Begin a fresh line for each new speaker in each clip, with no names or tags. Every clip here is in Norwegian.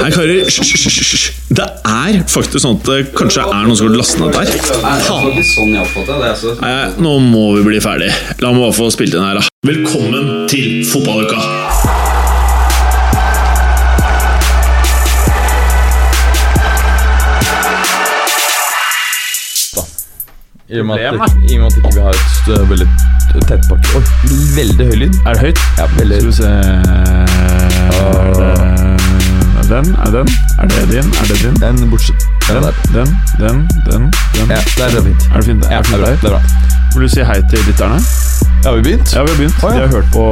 Nei, karer, hysj, hysj, hysj, hysj. Det er faktisk sånn at det kanskje er noen som har lastet ned dette her. Faen.
sånn jeg oppfatter det. Altså.
Nei, nå må vi bli ferdig. La meg bare få spilt inn her, da. Velkommen til fotballuka!
I og med at, i og med at ikke vi ikke har et stø- veldig tett pakke Oi, veldig høy lyd.
Er det høyt?
Ja, veldig
Skal vi se Er det den? Er den? Er det din? Er det din?
Den bortsett.
Den,
Den der.
den, den, den, den.
Ja, der er det fint.
Er det fint?
Ja,
Er det fint
det er bra.
der?
Det er bra.
Vil du si hei til lytterne?
Ja, har vi begynt?
Ja, vi har begynt.
Å, ja.
De har hørt på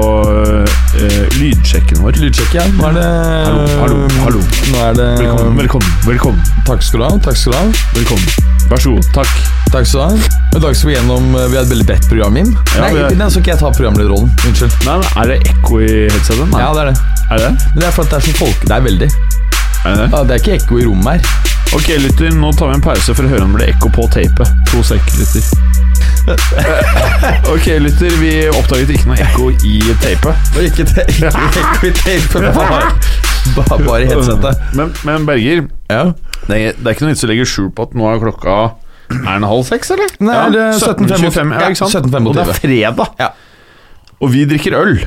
eh, lydsjekken vår.
Lydsjekk igjen. Nå er det
Hallo, hallo, hallo.
Nå er det
Velkommen, velkommen, velkommen.
Takk skal du ha. Takk skal du ha.
velkommen. Vær så god. Takk.
Takk skal du ha. I dag skal vi gjennom eh, Vi har et veldig bredt program, Jim.
Ja,
Nei,
vi er-
i dag skal ikke jeg ta programlederrollen. Unnskyld.
Nei, nei, er det ekko i headsetet? Nei.
Ja, det er det.
Er det
Men det er fordi det er så folk... Det er veldig.
er det? det?
Ja, det er ikke ekko i rommet her.
Ok, lytter, nå tar vi en pause for å høre om det ble ekko på tapet. To sek, lytter. ok, lytter, vi oppdaget ikke noe ekko i tapet.
Og ikke, te ikke ekko i tape, bare, ba- bare i headsetet.
Men, men Berger,
Ja.
det er, det er ikke noe vits å legge skjul på at nå er klokka Er den halv seks, eller?
Nei,
Ja,
det er 17.25.
Ja, ikke sant?
Ja, 17.25.
Og det er fredag.
Ja.
Og vi drikker øl.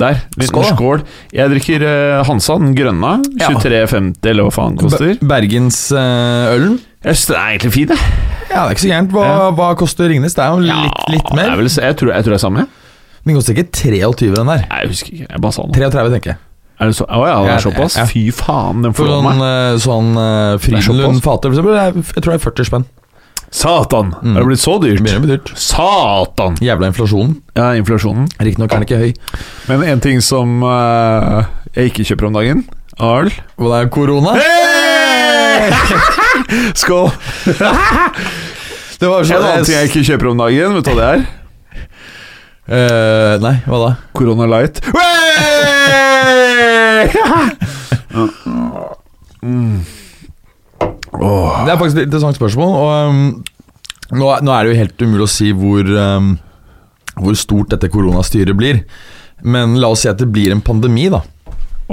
Der. Skål.
Skål.
skål. Jeg drikker eh, Hansa, den grønne.
Ja.
23,50, eller hva faen koster.
Be- Bergensølen.
Jeg synes det er egentlig fin, jeg.
Ja, det er ikke så gærent. Hva,
Ja.
hva koster Ringnes? Det er jo litt, litt
Det
mer.
er vel, jeg, tror, jeg tror det er samme. jeg.
Den koster ikke 23, den her.
Nei, Jeg husker ikke. Jeg bare sa noe.
33, tenker jeg.
Er det så, å ja, det
Ja,
er såpass?
ja.
Fy faen, den
For
forlot
sånn,
meg.
eh, sånn eh,
såpass.
Frydenlund-fater, for eksempel, det er- jeg tror det er 40 spenn.
eh, Satan! Er det blitt så
Det
dyrt?
begynner å bli dyrt.
Satan!
Jævla inflasjonen.
Ja, inflasjonen.
Riktignok er den ikke høy.
Men en ting som eh, jeg ikke kjøper om dagen Arl
Og det er korona.
Skål
Det var
En annen ting jeg ikke kjøper om dagen Vet du hva det er?
Eh, Nei, hva da?
Corona Light
Det er faktisk et interessant spørsmål. Og um, nå, er- nå er det jo helt umulig å si hvor, um, hvor stort dette koronastyret blir. Men la oss si at det blir en pandemi, da.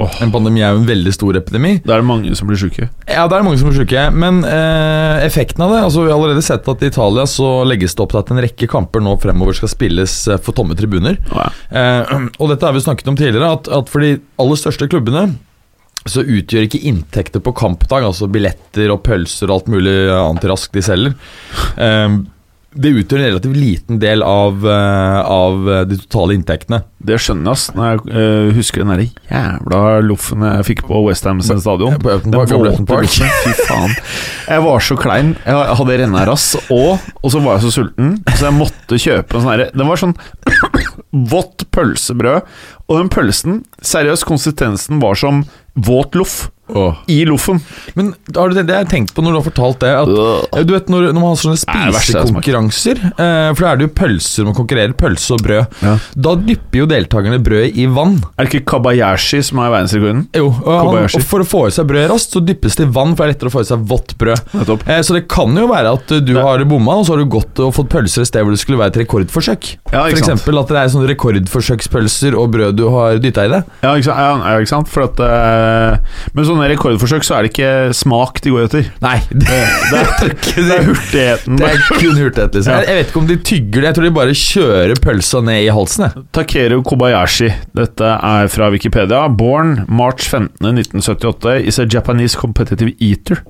Åh.
En pandemi er jo en veldig stor epidemi.
Da er det mange som blir syke
Ja, det er mange som blir syke, men eh, effekten av det altså Vi har allerede sett at i Italia så legges det opp til at en rekke kamper nå fremover skal spilles eh, for tomme tribuner. Eh, og dette har vi snakket om tidligere, at, at for de aller største klubbene så utgjør ikke inntekter på kampdag, altså billetter og pølser og alt mulig annet rask de selger, eh, det utgjør en relativt liten del av, eh, av eh, de totale inntektene.
Det skjønner jeg ass Når jeg eh, husker den der jævla loffen jeg fikk på West Ham sin stadion
På Upton
Den
Park,
våte
Upton Park.
loffen, Fy faen Jeg var så klein Jeg hadde rennet rass og, og så var jeg så sulten Så jeg måtte kjøpe en sånn her Det var sånn vått pølsebrød Og den pølsen Seriøst, konsistensen var som våt loff I loffen
Men har du tenkt, det har jeg tenkt på når du har fortalt det, at Ja, Du vet når, når man har sånne
Nei, det verste jeg har smakt.
spisekonkurranser eh, For da er det jo pølser man konkurrerer Pølse og brød
Ja.
Da dypper jo deltakerne brødet i vann
Er det ikke Kabayashi som er verdensrekorden?
jo, og, han,
Kobayashi.
og for å få i seg brød raskt Så dyppes det i vann For det er lettere å få i seg vått brød
Nettopp.
eh, Så det kan jo være at eh, du har bomma Og så har du gått og fått pølser et sted Hvor det skulle være et rekordforsøk
Ja,
For
ikke sant.
eksempel at det er sånne rekordforsøkspølser Og brød du har dyttet i det
Ja, ikke sant? Ja, ja, ikke sant? For at, eh, men sånne rekordforsøk, så er det ikke smak de går etter.
Nei, det,
Det er, det er hurtigheten.
det er kun hurtighet liksom.
Ja.
jeg, jeg vet ikke om de tygger det Jeg tror de bare kjører pølsa ned i halsen jeg.
Takeru Kobayashi. Dette er fra Wikipedia. Born March 15, 1978, is a Japanese competitive eater.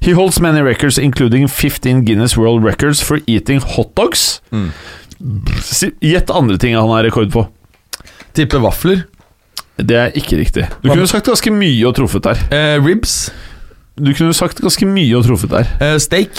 He holds many records, including 15 Guinness World Records for eating hotdogs.
Mm.
Si- Gjett andre ting han har rekord på.
Tipper vaffler
Det er ikke riktig. Du kunne sagt ganske mye og truffet der.
eh, Ribs
Du kunne sagt ganske mye og truffet der.
Eh, steak.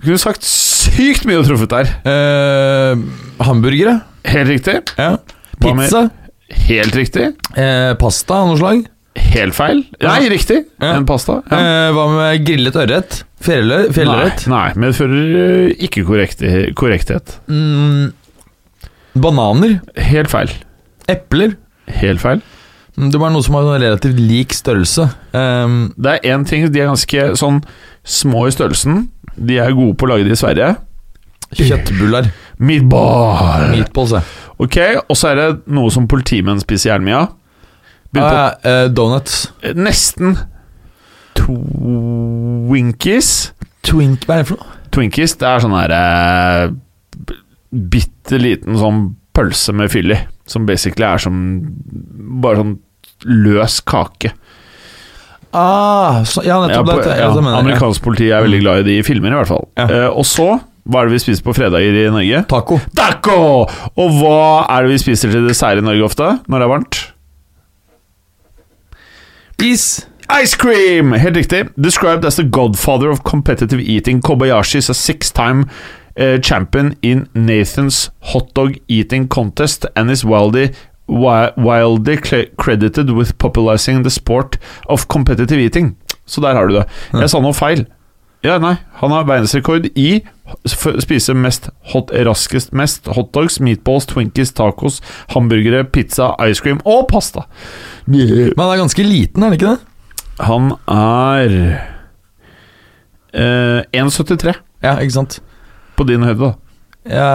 Du kunne sagt sykt mye og truffet der.
Eh, hamburgere.
Helt riktig.
Ja.
Hva med-
Pizza.
Helt riktig.
Eh, pasta av noe slag.
Helt feil. Nei,
Ja.
riktig.
Ja.
En pasta. Ja.
Eh, hva med grillet ørret? Fjellø- Fjellørret.
Nei, nei, medfører ø, ikke korrekti- korrekthet.
Mm, bananer.
Helt feil.
Epler.
Helt feil.
Mm, Det var noe som har sånn relativt lik størrelse. Eh,
Det er én ting de er ganske sånn små i størrelsen. De er gode på å lage de i Sverige.
kjøttbuller.
Meatball.
Meatballs, ja.
Ok, og så er det noe som politimenn spiser jernmia. Begynte på
Eh, eh, donuts.
Eh, Nesten Twinkies
Twink, hva er det for noe?
Twinkies, det er sånn her eh, b- Bitte liten sånn pølse med fyll i Som basically er som Bare sånn løs kake
Ah, så, ja,
ja,
nettopp.
på,
det, det,
ja,
det mener jeg.
Amerikansk politi er veldig glad i de i filmer i hvert fall
Ja.
Eh, Og så, hva er det vi spiser på fredager i Norge?
Taco.
Taco! Og hva er det vi spiser til dessert i Norge ofte? Når det er varmt?
Is.
Ice cream! Helt riktig. Described as the godfather of competitive eating, Kobayashi is a six-time eh, champion in Nathan's hot dog eating contest and is wildly, wi- wildly cre- credited with popularizing the sport of competitive eating. Så der har du det. Jeg sa noe feil. Ja, nei. Han har verdensrekord i å spise mest hot, raskest mest hotdogs, meatballs, twinkies, tacos, hamburgere, pizza, ice cream og pasta. Yeah.
Men han er ganske liten, er han ikke det?
Han er eh, 1,73
Ja, ikke sant.
på din høyde, da.
Ja,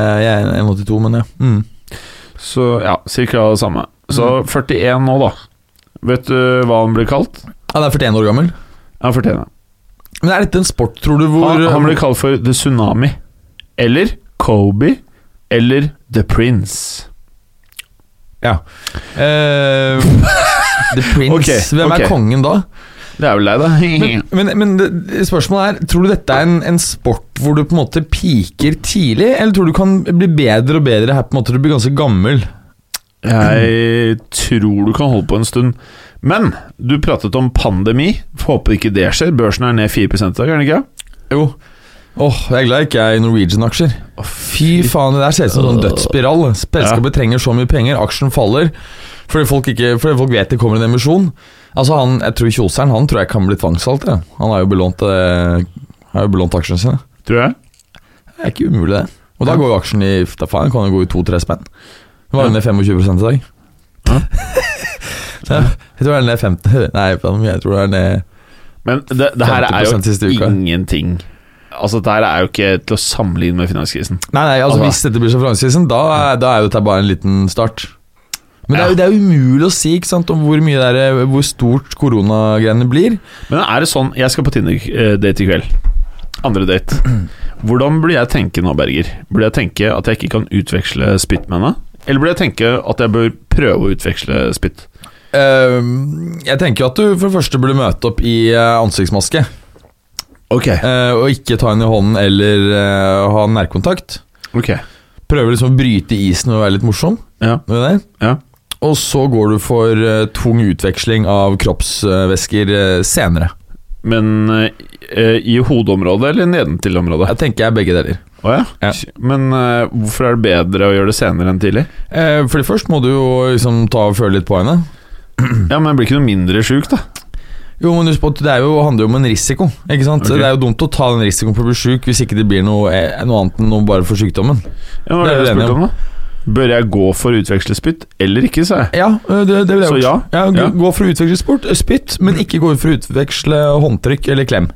ja, jeg er 1,82, men ja. Mm.
Så ja, cirka det samme. Så 41 nå, da. Vet du hva han blir kalt?
Han er 41 år gammel.
Han fortjener det.
Men er dette en sport, tror du, hvor
Han, han blir kalt for The Tsunami. Eller Kobe. Eller The Prince.
Ja. Eh, The Prince.
Ok,
Hvem
ok.
er kongen da?
Det er vel deg, da.
Men, men, men det, det- spørsmålet er, tror du dette er en, en sport hvor du på en måte piker tidlig, eller tror du du kan bli bedre og bedre her på en måte du blir ganske gammel?
Jeg tror du kan holde på en stund. Men du pratet om pandemi. Får håpe ikke det skjer. Børsen er ned 4 i dag, er den ikke?
Jo. Åh, jeg er glad jeg ikke er i Norwegian-aksjer. Fy faen, det der ser ut som en dødsspiral. Selskapet trenger så mye penger, aksjen faller. Fordi folk, ikke, fordi folk vet det kommer en emisjon. Altså han, Jeg tror Kjoseren han tror jeg kan bli tvangssolgt. jeg. Han har jo belånt, eh, har jo belånt aksjene sine.
Tror jeg.
Det er ikke umulig, det. Og da går jo aksjen i da faen, kan jo gå i to-tre spenn. Den var
Ja.
jo ned 25 i dag.
Ja.
Så jeg jeg tror det er ned 50 Nei, faen, jeg tror det er ned
Men det, det her er
50% siste
jo
uka.
ingenting Altså, det her er jo ikke til å sammenligne med finanskrisen.
Nei, nei, altså
Altså-
hvis dette blir sjeferanskrisen, da, er- da er jo dette bare en liten start. Men det er, jo- det er jo umulig å si ikke sant, om hvor, mye det er, hvor stort koronagreiene blir.
Men er det sånn Jeg skal på Tinder-date i kveld. Andre date. Hvordan burde jeg tenke nå, Berger? Burde jeg tenke at jeg ikke kan utveksle spytt med henne? Eller burde jeg tenke at jeg bør prøve å utveksle spytt?
Ehm, jeg tenker jo at du for det første burde møte opp i eh, ansiktsmaske.
Ok.
eh, og ikke ta henne i hånden eller eh, ha nærkontakt.
Ok.
Prøve liksom å bryte isen og være litt morsom.
Ja.
Vet du det?
ja.
Og så går du for eh, tung utveksling av kroppsvæsker eh, senere.
Men eh, i hodeområdet eller nedentil-området?
Jeg tenker jeg begge deler.
Å ja.
Ja.
Men eh, hvorfor er det bedre å gjøre det senere enn tidlig?
Eh, fordi først må du jo liksom ta og føle litt på henne. Mm.
Ja, men jeg blir ikke noe mindre sjuk, da.
Jo, men husk på at det er jo, handler jo om en risiko. ikke sant?
Ok.
Det er jo dumt å ta den risikoen for å bli syk hvis ikke det blir noe, eh, noe annet enn noe bare for sykdommen.
Ja, det
Det
var
er
det
vi
jeg
enige
spurte om, da. Bør jeg gå for å utveksle spytt eller ikke, sa jeg.
Ja, eh, det, det vil jeg
Så ja,
gjort. Ja, gå-
ja.
Gå for å utveksle sport, eh, spytt, men ikke gå for å utveksle håndtrykk eller klem.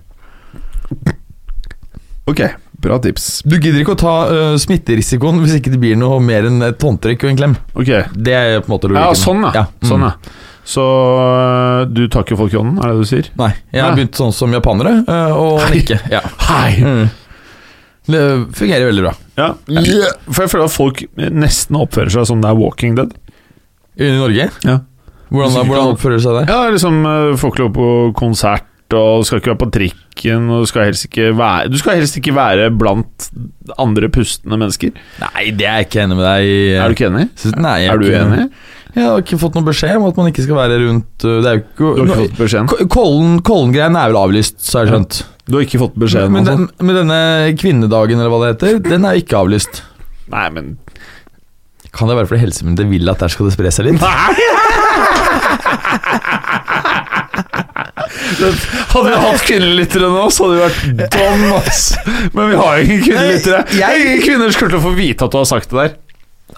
Ok, bra tips.
Du gidder ikke å ta eh, smitterisikoen hvis ikke det blir noe mer enn et håndtrykk og en klem.
Ok,
Det er på en måte
ja,
logikken.
sånn ja.
mm.
Sånn, ja. Så øh, du tar ikke folk i hånden, er det det du sier?
Nei, jeg har
Nei.
begynt sånn som japanere, eh, og
Hei.
nikke. Ja. Mm.
Hei!
Det fungerer veldig bra.
Ja. For jeg føler at folk nesten oppfører seg som det er Walking Dead.
I Norge?
Ja,
Hvordan,
Hvis ikke
hvordan
kan-
oppfører du seg der?
ja liksom øh, Folk går på konsert og skal ikke være på trikken og skal helst ikke være, Du skal helst ikke være blant andre pustende mennesker.
Nei, det er jeg ikke enig med deg i.
Er du ikke enig?
Synes- Nei, jeg
Er du
ikke-
enig?
Jeg har ikke fått noen beskjed om at man ikke skal være rundt uh, Det er jo
Du har
ikke
ikke fått beskjeden?
Ko- Kollen- Kollen-greien er vel avlyst, så har jeg skjønt.
Du har ikke fått beskjeden?
Men,
altså?
den, men denne kvinnedagen, eller hva det heter, den er jo ikke avlyst.
Nei, men
Kan det være fordi helsemyndighetene vil at der skal det spre seg litt?
Hadde vi hatt kvinnelyttere nå, så hadde vi vært dom, ass. Men vi har jo ingen kvinnelyttere.
Nei, jeg-
Ingen kvinner skulle til å få vite at du har sagt det der.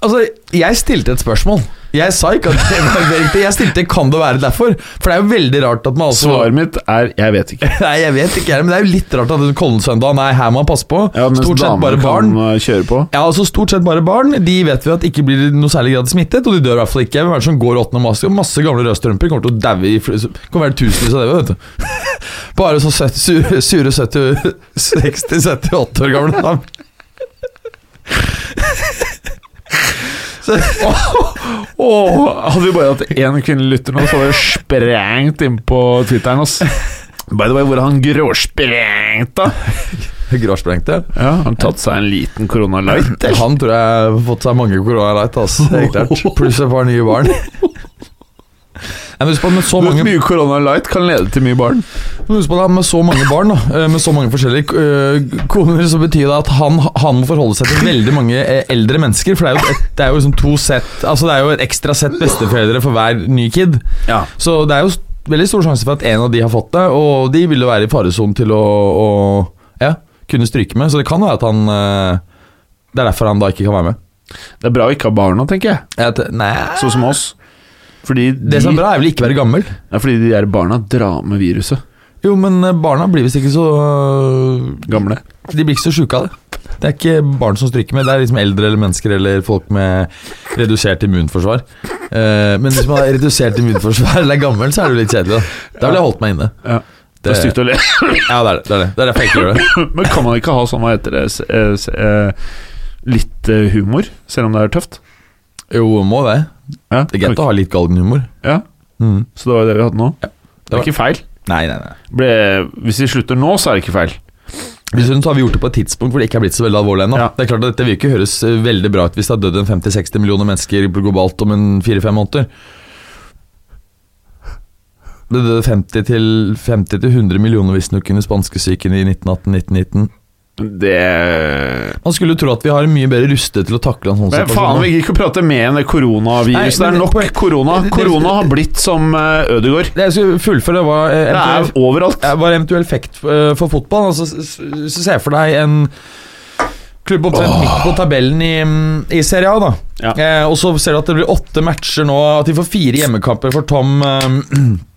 Altså, jeg stilte et spørsmål. Jeg sa ikke at det var riktig. Jeg stilte 'kan det være derfor?' For det er jo veldig rart at man altså
Svaret mitt er 'jeg vet ikke'.
Nei, jeg vet ikke, men det er jo litt rart at Kollensøndag Nei, her må man passe på.
Ja, mens
stort sett
damer
bare barn.
kan eh, kjøre på.
Ja, altså Stort sett bare barn. De vet vi at ikke blir i noe særlig grad smittet, og de dør i hvert fall ikke. Hvem er det som går 8. mars? Masse gamle rødstrømper kommer til å daue i fl- Kommer være tusenvis av daue, vet du. Bare så søt, sure, sure 70 60-78 år gamle dam. Så,
Åh, hadde vi bare hatt én kvinnelig lytter nå, så hadde jeg sprengt inn på Twitteren. Ass. By the way, hvor er han gråsprengt, da?
Gråsprengte.
Ja, Han tatt seg en liten korona light. eller?
Han tror jeg har fått seg mange koronalight, altså. Helt klart. Pluss et par nye barn. Nei, men husk på at med så mange
Mye korona light kan lede til mye barn.
Men Husk på det, Med så mange barn da, eh, med så mange forskjellige eh, koner, så betyr det at han, han må forholde seg til veldig mange eh, eldre mennesker. For det er jo, et, det er jo liksom to sett Altså det er jo et ekstra sett besteforeldre for hver ny kid.
Ja.
Så det er jo s- veldig stor sjanse for at en av de har fått det, og de vil jo være i faresonen til å, å ja, kunne stryke med. Så det kan være at han eh, Det er derfor han da ikke kan være med.
Det er bra å ikke ha barna, tenker jeg.
Jeg vet- nei
Sånn som oss. Fordi de,
Det som er bra, er vel ikke være gammel.
Ja, fordi de der barna drar med viruset.
Jo, men eh, barna blir visst ikke så øh,
Gamle.
De blir ikke så sjuke av det. Det er ikke barn som stryker med, det er liksom eldre eller mennesker eller folk med redusert immunforsvar. Eh, men hvis man har redusert immunforsvar eller er gammel, så er det jo litt kjedelig. Da Da ville jeg holdt meg inne.
Ja. Det, er stygt å le.
Ja, det er det. Det er, det. det er derfor jeg ikke gjør det.
Men kan man ikke ha sånn, hva heter det s- eh, s- eh, Litt eh, humor, selv om det er tøft?
Jo, må det.
Ja,
Det er greit å ha litt galgenhumor.
ja.
Mm.
Så det var jo det vi hadde nå. Det
var-
er ikke feil.
Nei, nei, nei.
Ble, hvis vi slutter nå, så er det ikke feil.
Dessuten så har vi gjort det på et tidspunkt hvor det ikke er blitt så veldig alvorlig ennå.
Ja.
Det er klart at Dette vil ikke høres eh, veldig bra ut hvis det har dødd en 50-60 millioner mennesker globalt om en 4-5 måneder. Det døde 50 til 50 til 100 millioner visstnok under spanskesyken i 1918-1919.
Det
Man skulle jo tro at vi har mye bedre rustet til å takle en sånn
Men faen, vi gidder ikke å prate mer enn det koronaviruset. Det
Nei,
er
men-
nok korona.
det- det-
Korona har blitt som eh, Ødegaard.
Det jeg skulle fullføre, var eh,
Det er
eventuell-
overalt.
eh, var eventuell effekt eh, for fotball. Altså, s- s- så ser jeg for deg en klubb omtrent midt på tabellen i, mm, i Serie A. da
Ja.
eh, Og så ser du at det blir åtte matcher nå, at de får fire hjemmekamper for tom eh,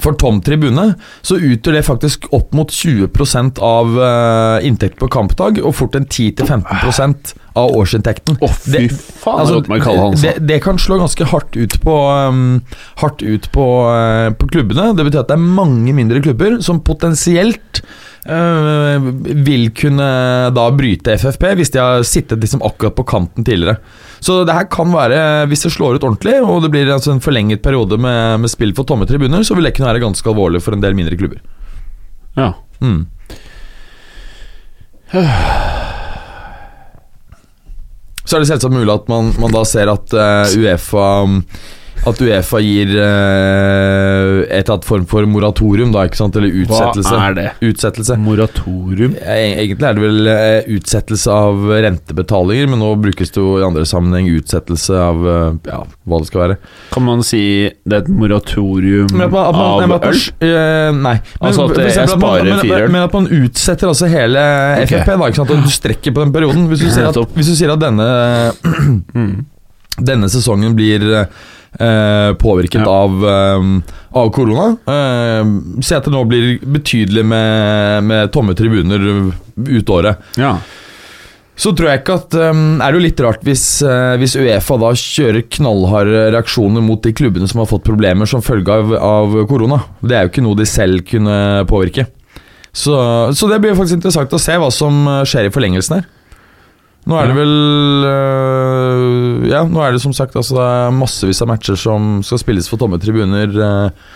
for tom tribune så utgjør det faktisk opp mot 20 av eh, inntekt på kampdag, og fort en 10-15 av årsinntekten.
Å, fy
Det-
faen,
Altså,
altså, meg kalle han
det, det kan slå ganske hardt ut på um, Hardt ut på, eh, på klubbene. Det betyr at det er mange mindre klubber som potensielt eh, vil kunne da bryte FFP, hvis de har sittet liksom akkurat på kanten tidligere. Så det her kan være, hvis det slår ut ordentlig, og det blir altså en forlenget periode med, med spill for tomme tribuner, så vil det kunne være ganske alvorlig for en del mindre klubber.
Ja.
Mm. Så er det selvsagt mulig at man, man da ser at eh, Uefa At Uefa gir eh, et eller annet form for moratorium, da, ikke sant? Eller
Hva
utsettelse.
er det?
Utsettelse.
Moratorium?
Eh, Egentlig er det vel eh, utsettelse av rentebetalinger, men nå brukes det jo i andre sammenheng utsettelse av eh, ja, hva det skal være.
Kan man si det er et moratorium
Men at man, at man, nei, men
Mm. av
at man,
øl?
eh, nei. Men,
Altså at
for
jeg
eksempel at man-
sparer
men-
fireren.
Men at man utsetter altså hele
Ok.
FFP, da, ikke sant? at du strekker på den perioden. Hvis du sier at,
Nettopp. Mm.
hvis du sier at denne, denne sesongen blir eh, påvirket
Ja.
av, eh, av korona eh, Si at det nå blir betydelig med, med tomme tribuner ut året.
Ja.
Så tror jeg ikke at ehm, Er det jo litt rart hvis, eh, hvis Uefa da kjører knallharde reaksjoner mot de klubbene som har fått problemer som følge av, av korona? Det er jo ikke noe de selv kunne påvirke. Så, så det blir faktisk interessant å se hva som eh, skjer i forlengelsen her. Nå er det vel eh, Ja, nå er det som sagt altså, det er massevis av matcher som skal spilles for tomme tribuner. eh,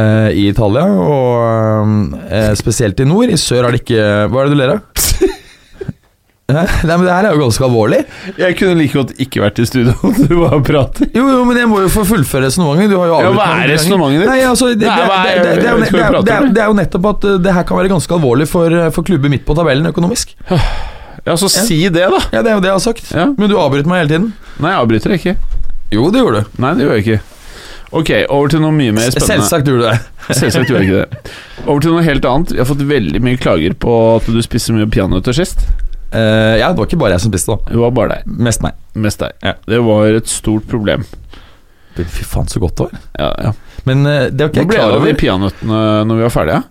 eh, I Italia, og eh, spesielt i nord. I sør er det ikke Hva er det du ler av? Hæ? Nei, men Det her er jo ganske alvorlig.
Jeg kunne like godt ikke vært i studio du bare prater.
Jo, jo, men jeg må jo få fullføre resonnementet. Du har jo
Ja,
avbrutt
hva
meg
er
noen
resonnementet ditt?
ganger. Nei, altså, det, det,
Nei, hva er-
det, det, det, er jo
jeg vet ikke hva du
ne- det,
prater
er-
om.
det er jo nettopp at eh, det her kan være ganske alvorlig for, eh, for klubber midt på tabellen økonomisk.
Ja, så si det, da.
Ja, Det er jo det jeg har sagt.
Ja.
Men du avbryter meg hele tiden.
Nei, jeg avbryter ikke.
Jo, det gjorde du.
Nei, det gjør jeg ikke. Ok, over til noe mye mer spennende.
Selvsagt gjorde du det.
Selvsagt gjør jeg ikke det. Over til noe helt annet. Vi har fått veldig mye klager på at du spiser mye peanøtter sist.
Eh, ja, det var ikke bare jeg som spiste, da.
Det var bare deg.
Mest meg.
Mest deg.
Ja.
Det var et stort problem.
Fy faen, så godt det var.
Ja, ja.
Men eh, det var
Hva
ikke jeg
ble
klar
det av de
over.
peanøttene når vi var ferdige?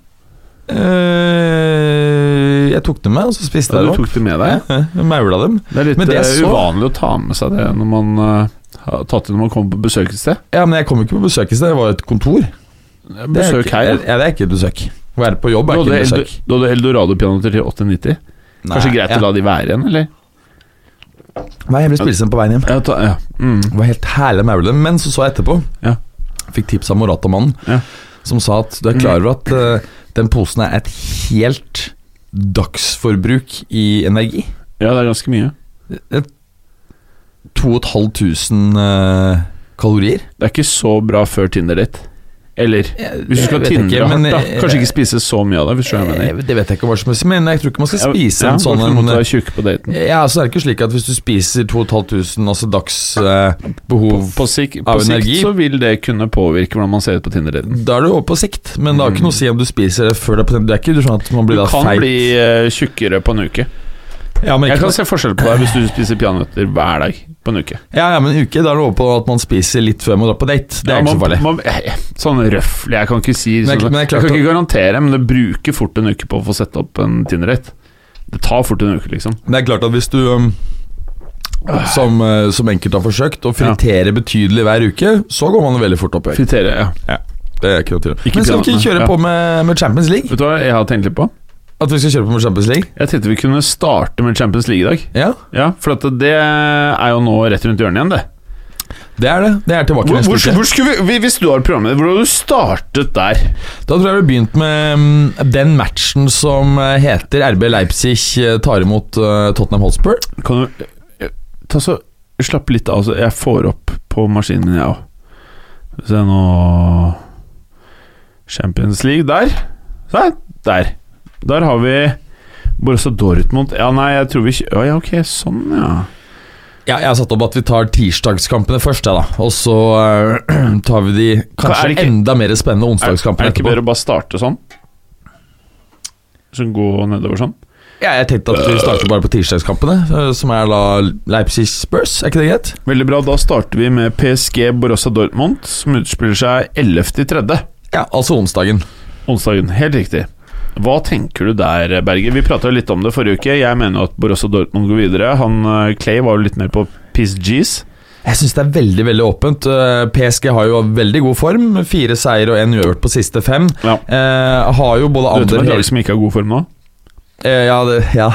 Eh, jeg tok dem med, og så spiste
Ja, du
jeg dem.
tok det med deg?
Ja, jeg Maula dem.
Det er litt
Men det
eh,
jeg så-
uvanlig å ta med seg det når man eh, har tatt det når man kommer på besøk et sted.
Ja, men jeg kom jo ikke på besøk i sted, det var et kontor. Det er
Besøk
ikke,
her.
Ja, det er ikke et besøk. Å være på jobb
Du
er
hadde,
ikke et
Eldo-
besøk.
du hadde Eldorado-peanøtter til 8,90. Kanskje greit å la de være igjen, eller?
Nei, jeg ble spillsom på veien hjem.
Ja, ta, ja. Mm.
Det var helt herlig med Aulum, men så så jeg etterpå.
Ja.
Fikk tips av Morata-mannen,
Ja. Mm.
som sa at du er klar over at eh, den posen er et helt dagsforbruk i energi.
ja, det er ganske mye.
Det er 2500 eh, kalorier.
Det er ikke så bra før Tinder-date. Eller Eh, Hvis du skal
Jeg vet
tindre
ikke,
hardt,
men,
da.
eh,
Kanskje ikke spise så mye av det. Hvis du skjønner hva jeg mener.
eh, Det vet jeg ikke hva som helst, men jeg tror ikke man skal spise en sånn
Hvorfor måtte
en
være tjukk på daten?
Ja, så er det ikke slik at hvis du spiser 2500 altså dags eh, behov
På, sik på
Av
sikt
energi.
så vil det kunne påvirke hvordan man ser ut på Tinder-daten.
Da er du over på sikt, men det har ikke noe å si om du spiser det før det er på Det er ikke sånn at man
Du
blir da
kan
feit.
bli eh, tjukkere på en uke.
Ja, men,
Jeg
ikke,
kan se forskjell på deg hvis du spiser peanøtter hver dag på en uke.
ja, ja, men en uke, da er det over på at man spiser litt før man drar på date. Det er
Ja,
ikke
man-
så farlig.
man- eh, Sånn røfflig, jeg kan ikke si
Men jeg-
sånn,
men
jeg,
jeg klarte
kan ikke garantere, men det bruker fort en uke på å få sette opp en Tinder-date. Det tar fort en uke, liksom.
Men det er klart at hvis du um, som, eh, som enkelte har forsøkt, å fritere betydelig hver uke, så går man veldig fort opp i vekt.
Fritere, ja.
Det er ikke noe tvil om.
Ikke
Men skal vi
piratene,
ikke kjøre
ja.
på med, med Champions League?
Vet du hva jeg har tenkt litt på?
At vi skal kjøre på med Champions League?
Jeg tenkte vi kunne starte med Champions League i dag.
Ja,
Ja, For at det er jo nå rett rundt hjørnet igjen, det.
det er det. Det er tilbake
Hvor,
neste
hvor,
uke.
hvor skulle vi, vi- hvis du har programmet, hvor hadde du startet der?
Da tror jeg vi begynt med mm, den matchen som eh, heter RB Leipzig eh, tar imot eh, Tottenham Hotspur.
Kan du eh, ta så Slapp litt av, så jeg får opp på maskinen min, jeg òg. Se nå Champions League der. Der! Der, der har vi Borussia Dortmund Ja, nei, jeg tror vi ikke Å, Ja, ok, sånn, ja.
Ja, jeg har satt opp at vi tar tirsdagskampene først, ja, da. Og så eh, tar vi de
Er
kanskje
det ikke-
enda mer spennende
Er, er
onsdagskampene
det ikke
etterpå.
bedre å bare starte sånn? Så gå nedover sånn?
Ja, jeg tenkte at vi starter bare på tirsdagskampene, eh, som er da Leipzig Spurs. Er ikke det greit?
Veldig bra. Da starter vi med PSG Borussia Dortmund, som utspiller seg 11.3.
Ja, altså onsdagen.
Onsdagen, helt riktig. Hva tenker du der, Berger? Vi prata litt om det forrige uke. Jeg mener jo at Borussia Dortmund går videre. Han, eh, Clay var jo litt mer på PSGs.
Jeg syns det er veldig veldig åpent. Eh, PSG har jo veldig god form. Fire seier og én uavgjort på siste fem.
Ja.
Eh, har jo både
Du vet om
andre
et lag som ikke har god form nå?
Eh, ja, det, ja.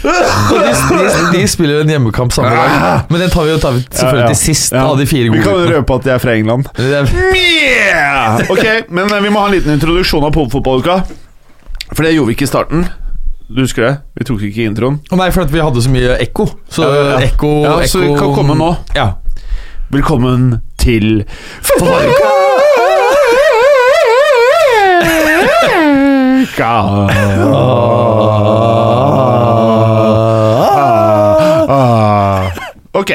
Så de, de, de spiller jo en hjemmekamp samme dag, men den tar vi jo tar vi selvfølgelig til sist av de fire gode.
røpe at de er fra England.
Det-
Yeah! Ok, men eh, vi må ha en liten introduksjon av popfotballuka. For det gjorde vi ikke i starten. Du husker det? Vi tok ikke introen.
Å Nei, for at vi hadde så mye ekko. Så
Ja, ja, ja.
ekko
Ja, så vi
ekko-
kan komme nå.
Ja.
Velkommen til Ok.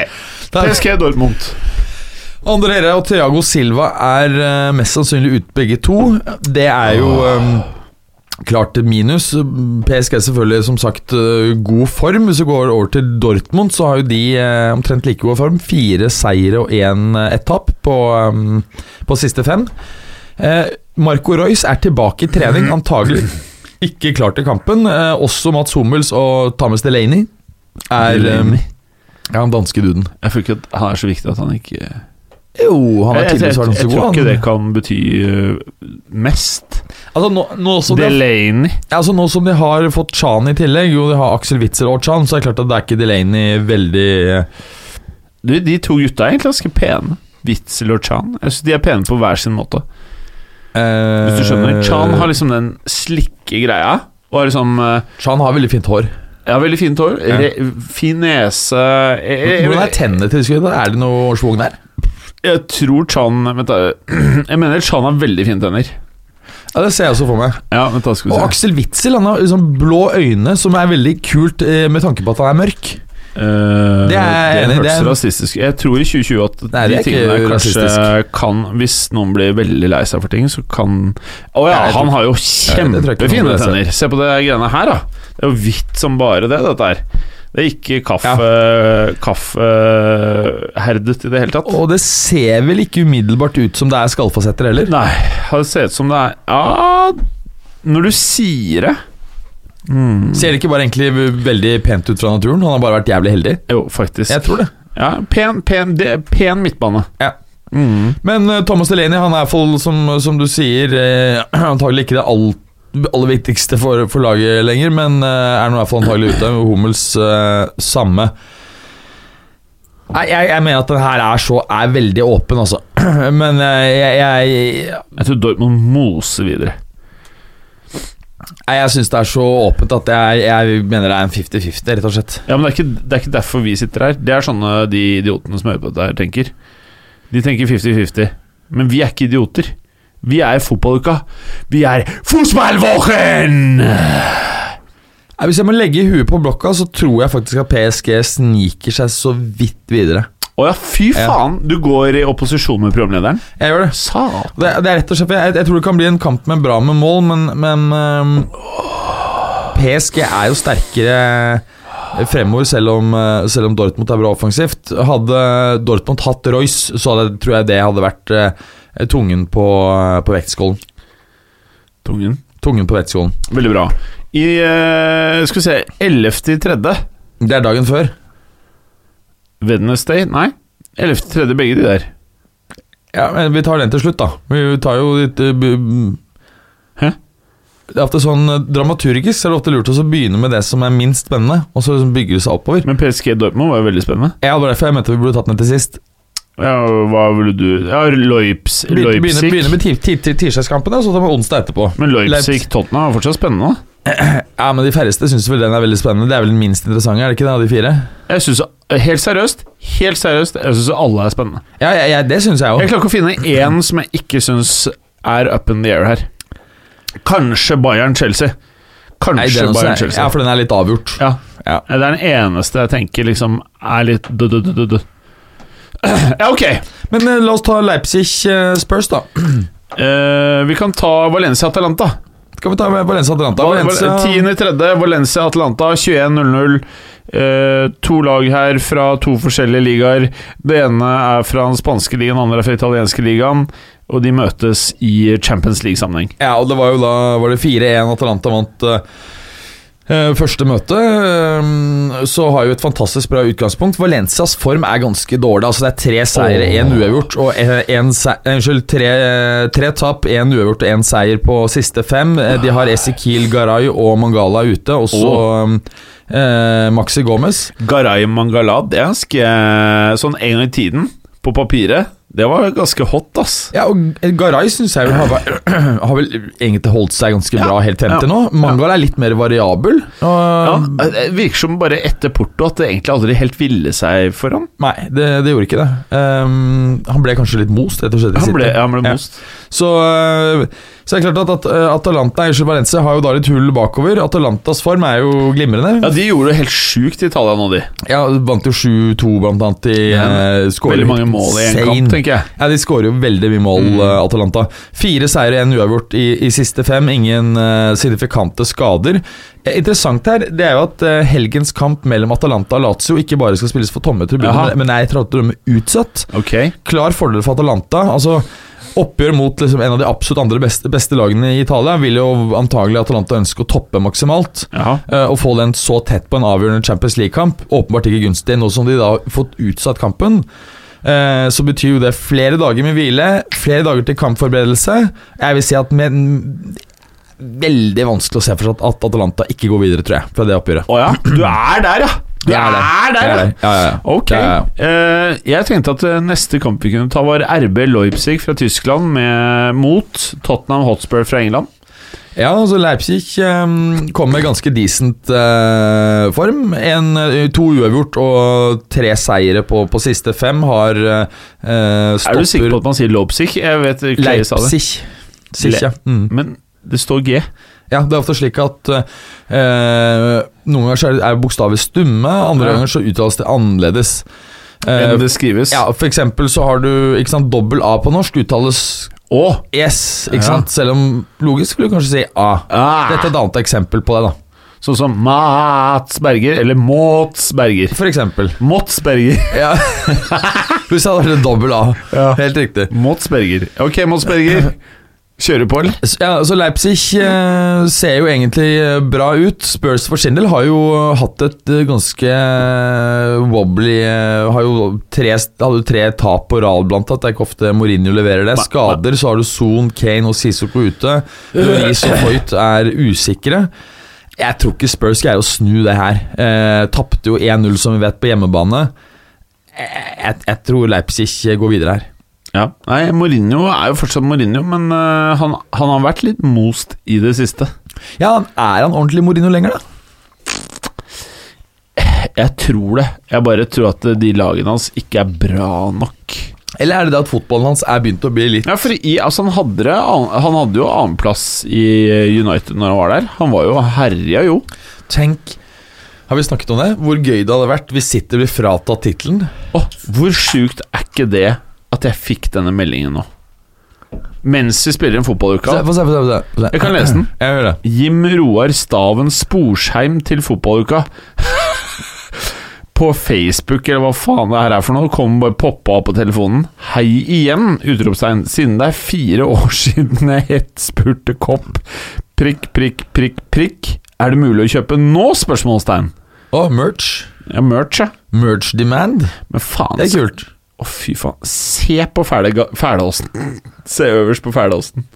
Der.
PSG Dortmund.
Andre Herre og Thiago Silva er eh, mest sannsynlig ut begge to. Det er jo eh, klart et minus. PSG er selvfølgelig som sagt eh, god form. Hvis vi går over til Dortmund, så har jo de eh, omtrent like god form. Fire seire og én etapp på, eh, på siste fem. Eh, Marco Royce er tilbake i trening, antagelig ikke klar til kampen. Eh, også Mats Hummels og Thomas Delaney er
Delaney?
eh, Ja, han danske duden.
Jeg føler ikke at han er så viktig at han ikke
Jo, han
jeg, jeg,
er
jeg,
tidligere
jeg,
så var han så god.
tror ikke
han.
det kan bety eh, mest.
Altså nå, nå, som de,
Delaney.
altså nå som de har fått Chan i tillegg, jo de har Aksel Witzel og Chan, så er det klart at det er ikke Delaney veldig
Du, de to gutta er egentlig ganske pene. Witzel og Chan. Jeg synes De er pene på hver sin måte.
eh,
Hvis du skjønner Chan har liksom den slikke greia. Og har liksom eh,
Chan har veldig fint hår.
Ja, veldig fint hår.
Ja.
Re, fin nese jeg, jeg,
Hvordan er
jeg,
tennene til skuddet? Er det noe schwung der?
jeg tror Chan Vent, da. Jeg mener Chan har veldig fine tenner.
Ja, Det ser jeg også for meg.
Ja, vent da, skal
Og
vi se.
Aksel Witzel han har liksom blå øyne, som er veldig kult eh, med tanke på at han er mørk.
Eh,
Det er jeg enig i, det
hørtes
er-
rasistisk Jeg tror i 2020 at
Nei,
de
det er ikke
tingene kanskje
rasistisk.
kan Hvis noen blir veldig lei seg for ting, så kan Å ja,
Nei, jeg tror-
han har jo
jeg tror ikke noen blir
kjempefine
lei seg.
tenner! Se på det greiene her, da. Det er jo hvitt som bare det, dette her. Det er ikke kaffe, kaffeherdet i det hele tatt.
Og det ser vel ikke umiddelbart ut som det er skallfasetter heller.
Nei, det ser ut som det er Ja, når du sier det Mm,
Ser det ikke bare egentlig veldig pent ut fra naturen? Han har bare vært jævlig heldig.
Jo, faktisk.
Jeg tror det.
Ja, pen, pen, det, er pen midtbane.
Ja.
Mm.
Men eh, Thomas Delaney han er iallfall, som, som du sier, eh, antagelig ikke det all- aller viktigste for, for laget lenger, men eh, er nå i hvert fall antagelig ute. og Hummels eh, samme. Nei, jeg, jeg mener at den her er så er veldig åpen, altså. Men eh, jeg, jeg,
Jeg tror Dortmund moser videre.
jeg, jeg syns det er så åpent at jeg, jeg mener det er en 50-50, rett og slett.
Ja, men det er, ikke, det er ikke derfor vi sitter her. Det er sånne de idiotene som hører på dette her, tenker. De tenker 50-50. Men vi er ikke idioter. Vi er fotballuka. Vi er Fußballwochen!
Nei, Hvis jeg må legge huet på blokka, så tror jeg faktisk at PSG sniker seg så vidt videre.
Å ja, fy faen! Du går i opposisjon med programlederen?
Jeg gjør det.
Satan.
Det, det er rett og slett jeg, jeg tror det kan bli en kamp med bra med mål, men, men ehm, PSG er jo sterkere fremover, selv om, eh, selv om Dortmund er bra offensivt. Hadde Dortmund hatt Royce, så hadde, tror jeg det hadde vært eh, tungen på, eh, på vektskålen.
Tungen.
Tungen på vektskålen.
Veldig bra. I eh, Skal vi se 11. til 3.
Det er dagen før.
Wednesday? Nei. 11. til 3. begge de der.
Ja, men Vi tar den til slutt, da. Vi tar jo litt eh, bu- mm.
Hæ?
Det er ofte sånn eh, Dramaturgisk så er det ofte lurt å så begynne med det som er minst spennende, og så liksom bygger det seg oppover.
Men PSG Dortmund var jo veldig spennende.
Ja, det var derfor jeg mente vi burde tatt den til sist.
Ja, hva ville du Ja, Loips,
Begynne,
Leipzig.
begynne, begynne med ti- ti- ti- tirsdagskampene, og så tar vi onsdag etterpå.
Men Leipzig
Leipzig.
Tottenham var fortsatt spennende. da.
Ja, men De færreste syns vel den er veldig spennende. Det er vel den minst interessante, er det ikke det, av de fire?
Jeg synes, Helt seriøst, helt seriøst, jeg syns alle er spennende.
Ja, ja, ja det syns jeg
Jeg
jo.
klarer ikke å finne én som jeg ikke syns er up in the air her. Kanskje Bayern-Chelsea.
Nei,
Kanskje
den også er-
Bayern-Chelsea.
Ja, for den er litt avgjort.
Ja.
Ja.
Det er den eneste jeg tenker liksom er litt du-du-du-du. Ja, ok.
Men eh, la oss ta Leipzig eh, Spurs, da.
Eh, vi kan ta Valencia-Atalanta.
Skal vi ta Valencia Atalanta? Valencia,
10.3. Valencia-Atalanta 21.00. Eh, to lag her fra to forskjellige ligaer. Det ene er fra den spanske ligaen, den andre er fra den italienske ligaen. Og de møtes i Champions League-sammenheng.
ja, og det var jo da var det 4-1 Atalanta vant eh, eh, første møte. eh, Så har jo et fantastisk bra utgangspunkt. Valencias form er ganske dårlig. Altså Det er tre seire,
Åh.
én uavgjort og en- en se- eh, Unnskyld, tre, eh, tre tap, én uavgjort og én seier på siste fem. Eh, De har Ezekiel Garay og Mangala ute, og så eh, Maxi Gomez.
Garay Mangala, det er ganske sånn en gang i tiden, på papiret. Det var ganske hot, ass.
Ja, og Garay syns jeg vel har, vært- har vel egentlig holdt seg ganske bra helt frem til
ja,
nå. Mangala er litt mer variabel.
Ja, eh,
og-
det virker som bare etter Porto at det egentlig aldri helt ville seg for han.
Nei, det, det gjorde ikke det. Ehm, han ble kanskje litt most, rett og slett. i
Han
City.
ble, han ble
Ja.
most.
Så, øh, så er det klart at, at øh, Atalanta Unnskyld, Valencia har jo da litt hull bakover. Atalantas form er jo
Ja,
glimrende.
de gjorde det helt sjukt i Italia nå, de.
Ja, Vant jo 7-2, blant annet. De
Ja.
eh, skårer
Veldig
jo
mange mål i en
insane.
kamp, tenker jeg. Mm.
Ja, De skårer jo veldig mye mål, eh, Atalanta. Fire seire og én uavgjort i, i siste fem. Ingen eh, signifikante skader. Eh, interessant her det er jo at eh, helgens kamp mellom Atalanta og Lazio ikke bare skal spilles for tomme
Jaha.
tribuner, men er etter at de er utsatt.
Ok
klar fordel for Atalanta. Altså Oppgjør mot liksom en av de absolutt andre beste, beste lagene i Italia vil jo antagelig Atalanta ønske å toppe maksimalt.
Jaha.
eh, Og få den så tett på en avgjørende Champions League-kamp. Åpenbart ikke gunstig. Nå som de da har fått utsatt kampen, eh, så betyr jo det flere dager med hvile, flere dager til kampforberedelse. Jeg vil si at med en- Veldig vanskelig å se for seg at- at Atalanta ikke går videre, tror jeg, fra det oppgjøret.
Å ja, du er der, ja! Du
Jeg
er der,
Jeg
ja!
er der. Ja, ja, ja.
Ok.
Ja, ja.
Eh, jeg tenkte at eh, neste kamp vi kunne ta, var RB Leipzig fra Tyskland med, mot Tottenham Hotspur fra England.
Ja, altså Leipzig um, kom med ganske decent eh, form. En, eh, to uavgjort og tre seire på, på siste fem har eh, eh, stopper
Er du sikker på at man sier Leipzig? Jeg vet Clay sa det.
Leipzig. Sich, ja. Mm.
Men det står G.
ja. Det er ofte slik at eh, Noen ganger så er- er bokstaver stumme, andre
Ja.
ganger så uttales det annerledes. Eh,
enn det skrives.
ja, for eksempel så har du ikke sant, dobbel A på norsk uttales
Og
yes, ikke
Ja.
sant? Selv om logisk skulle du kanskje si A.
Ah.
Dette er et annet eksempel på det, da.
sånn som Mats Berger, eller Måts Berger.
For eksempel.
Måts Berger.
Ja. Pluss hadde vært dobbel A.
Ja.
Helt riktig.
Måts Berger. Ok, Måts Berger. Kjører på, eller?
Så- Ja, så Leipzig eh, ser jo egentlig eh, bra ut. Spurs for sin del har jo hatt et eh, ganske eh, wobbly eh, Har jo tre, hadde jo tre tap på rad, blant annet. Det er ikke ofte Mourinho leverer det. Skader, så har du Son, Kane og Sissoko ute. Louise og Hoyt er usikre. Jeg tror ikke Spurs greier å snu det her. Eh, Tapte jo 1-0, som vi vet, på hjemmebane. Eh, Jeg, jeg tror Leipzig eh, går videre her.
Ja. Nei, Mourinho er jo fortsatt Mourinho, men eh, han, han har vært litt most i det siste.
Ja, Er han ordentlig Mourinho lenger, da?
Jeg tror det. Jeg bare tror at eh, de lagene hans ikke er bra nok.
Eller er det det at fotballen hans er begynt å bli litt
Ja, for i, altså han, hadde det, an- han hadde jo annenplass i eh, United når han var der. Han var jo herja, jo.
Tenk Har vi snakket om det? Hvor gøy det hadde vært hvis City blir fratatt tittelen.
Åh, hvor sjukt er ikke det at jeg fikk denne meldingen nå? Mens vi spiller en
Få se,
fotballuke.
få se, få se, få se.
Jeg kan lese den.
Jeg gjør det.
Jim Roar Staven Sporsheim til fotballuka. på Facebook, eller hva faen det her er for noe, kom bare poppa opp på telefonen. Hei igjen! Utropstegn. Siden det er fire år siden jeg het spurte kopp. Prikk, prikk, prikk, prikk. Er det mulig å kjøpe nå? Spørsmålstegn.
Å, merch.
Ja, merch, ja.
Merch demand.
Men faen altså.
Det er kult.
Å, fy faen. Se på fæle ga- fæleosten. Se øverst på fæleosten.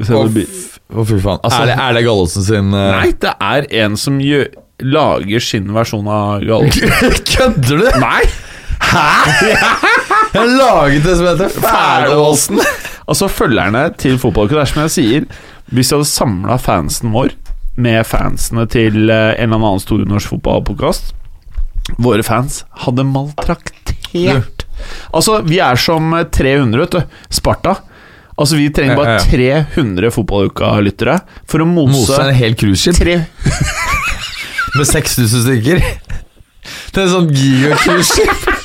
Se
Å,
det blir-
f- å, fy faen.
Altså-
er, det, er det Gallosen sin eh,
Nei, det er en som gjør, lager sin versjon av Gallosen.
Kødder du?!
Nei!
Jeg laget det som heter Fælåsen!
Altså, følgerne til fotballuka, det er som jeg sier Hvis du hadde samla fansen vår med fansene til eh, en eller annen stor norsk fotballpodkast Våre fans hadde maltraktert Altså, vi er som eh, 300, vet du. Sparta. Altså, vi trenger
Ja,
bare
ja,
300 fotballuka-lyttere for å mose,
Mose er en hel cruiseskip
tre
med 6000 stykker. Det er sånn gigacruiseskip.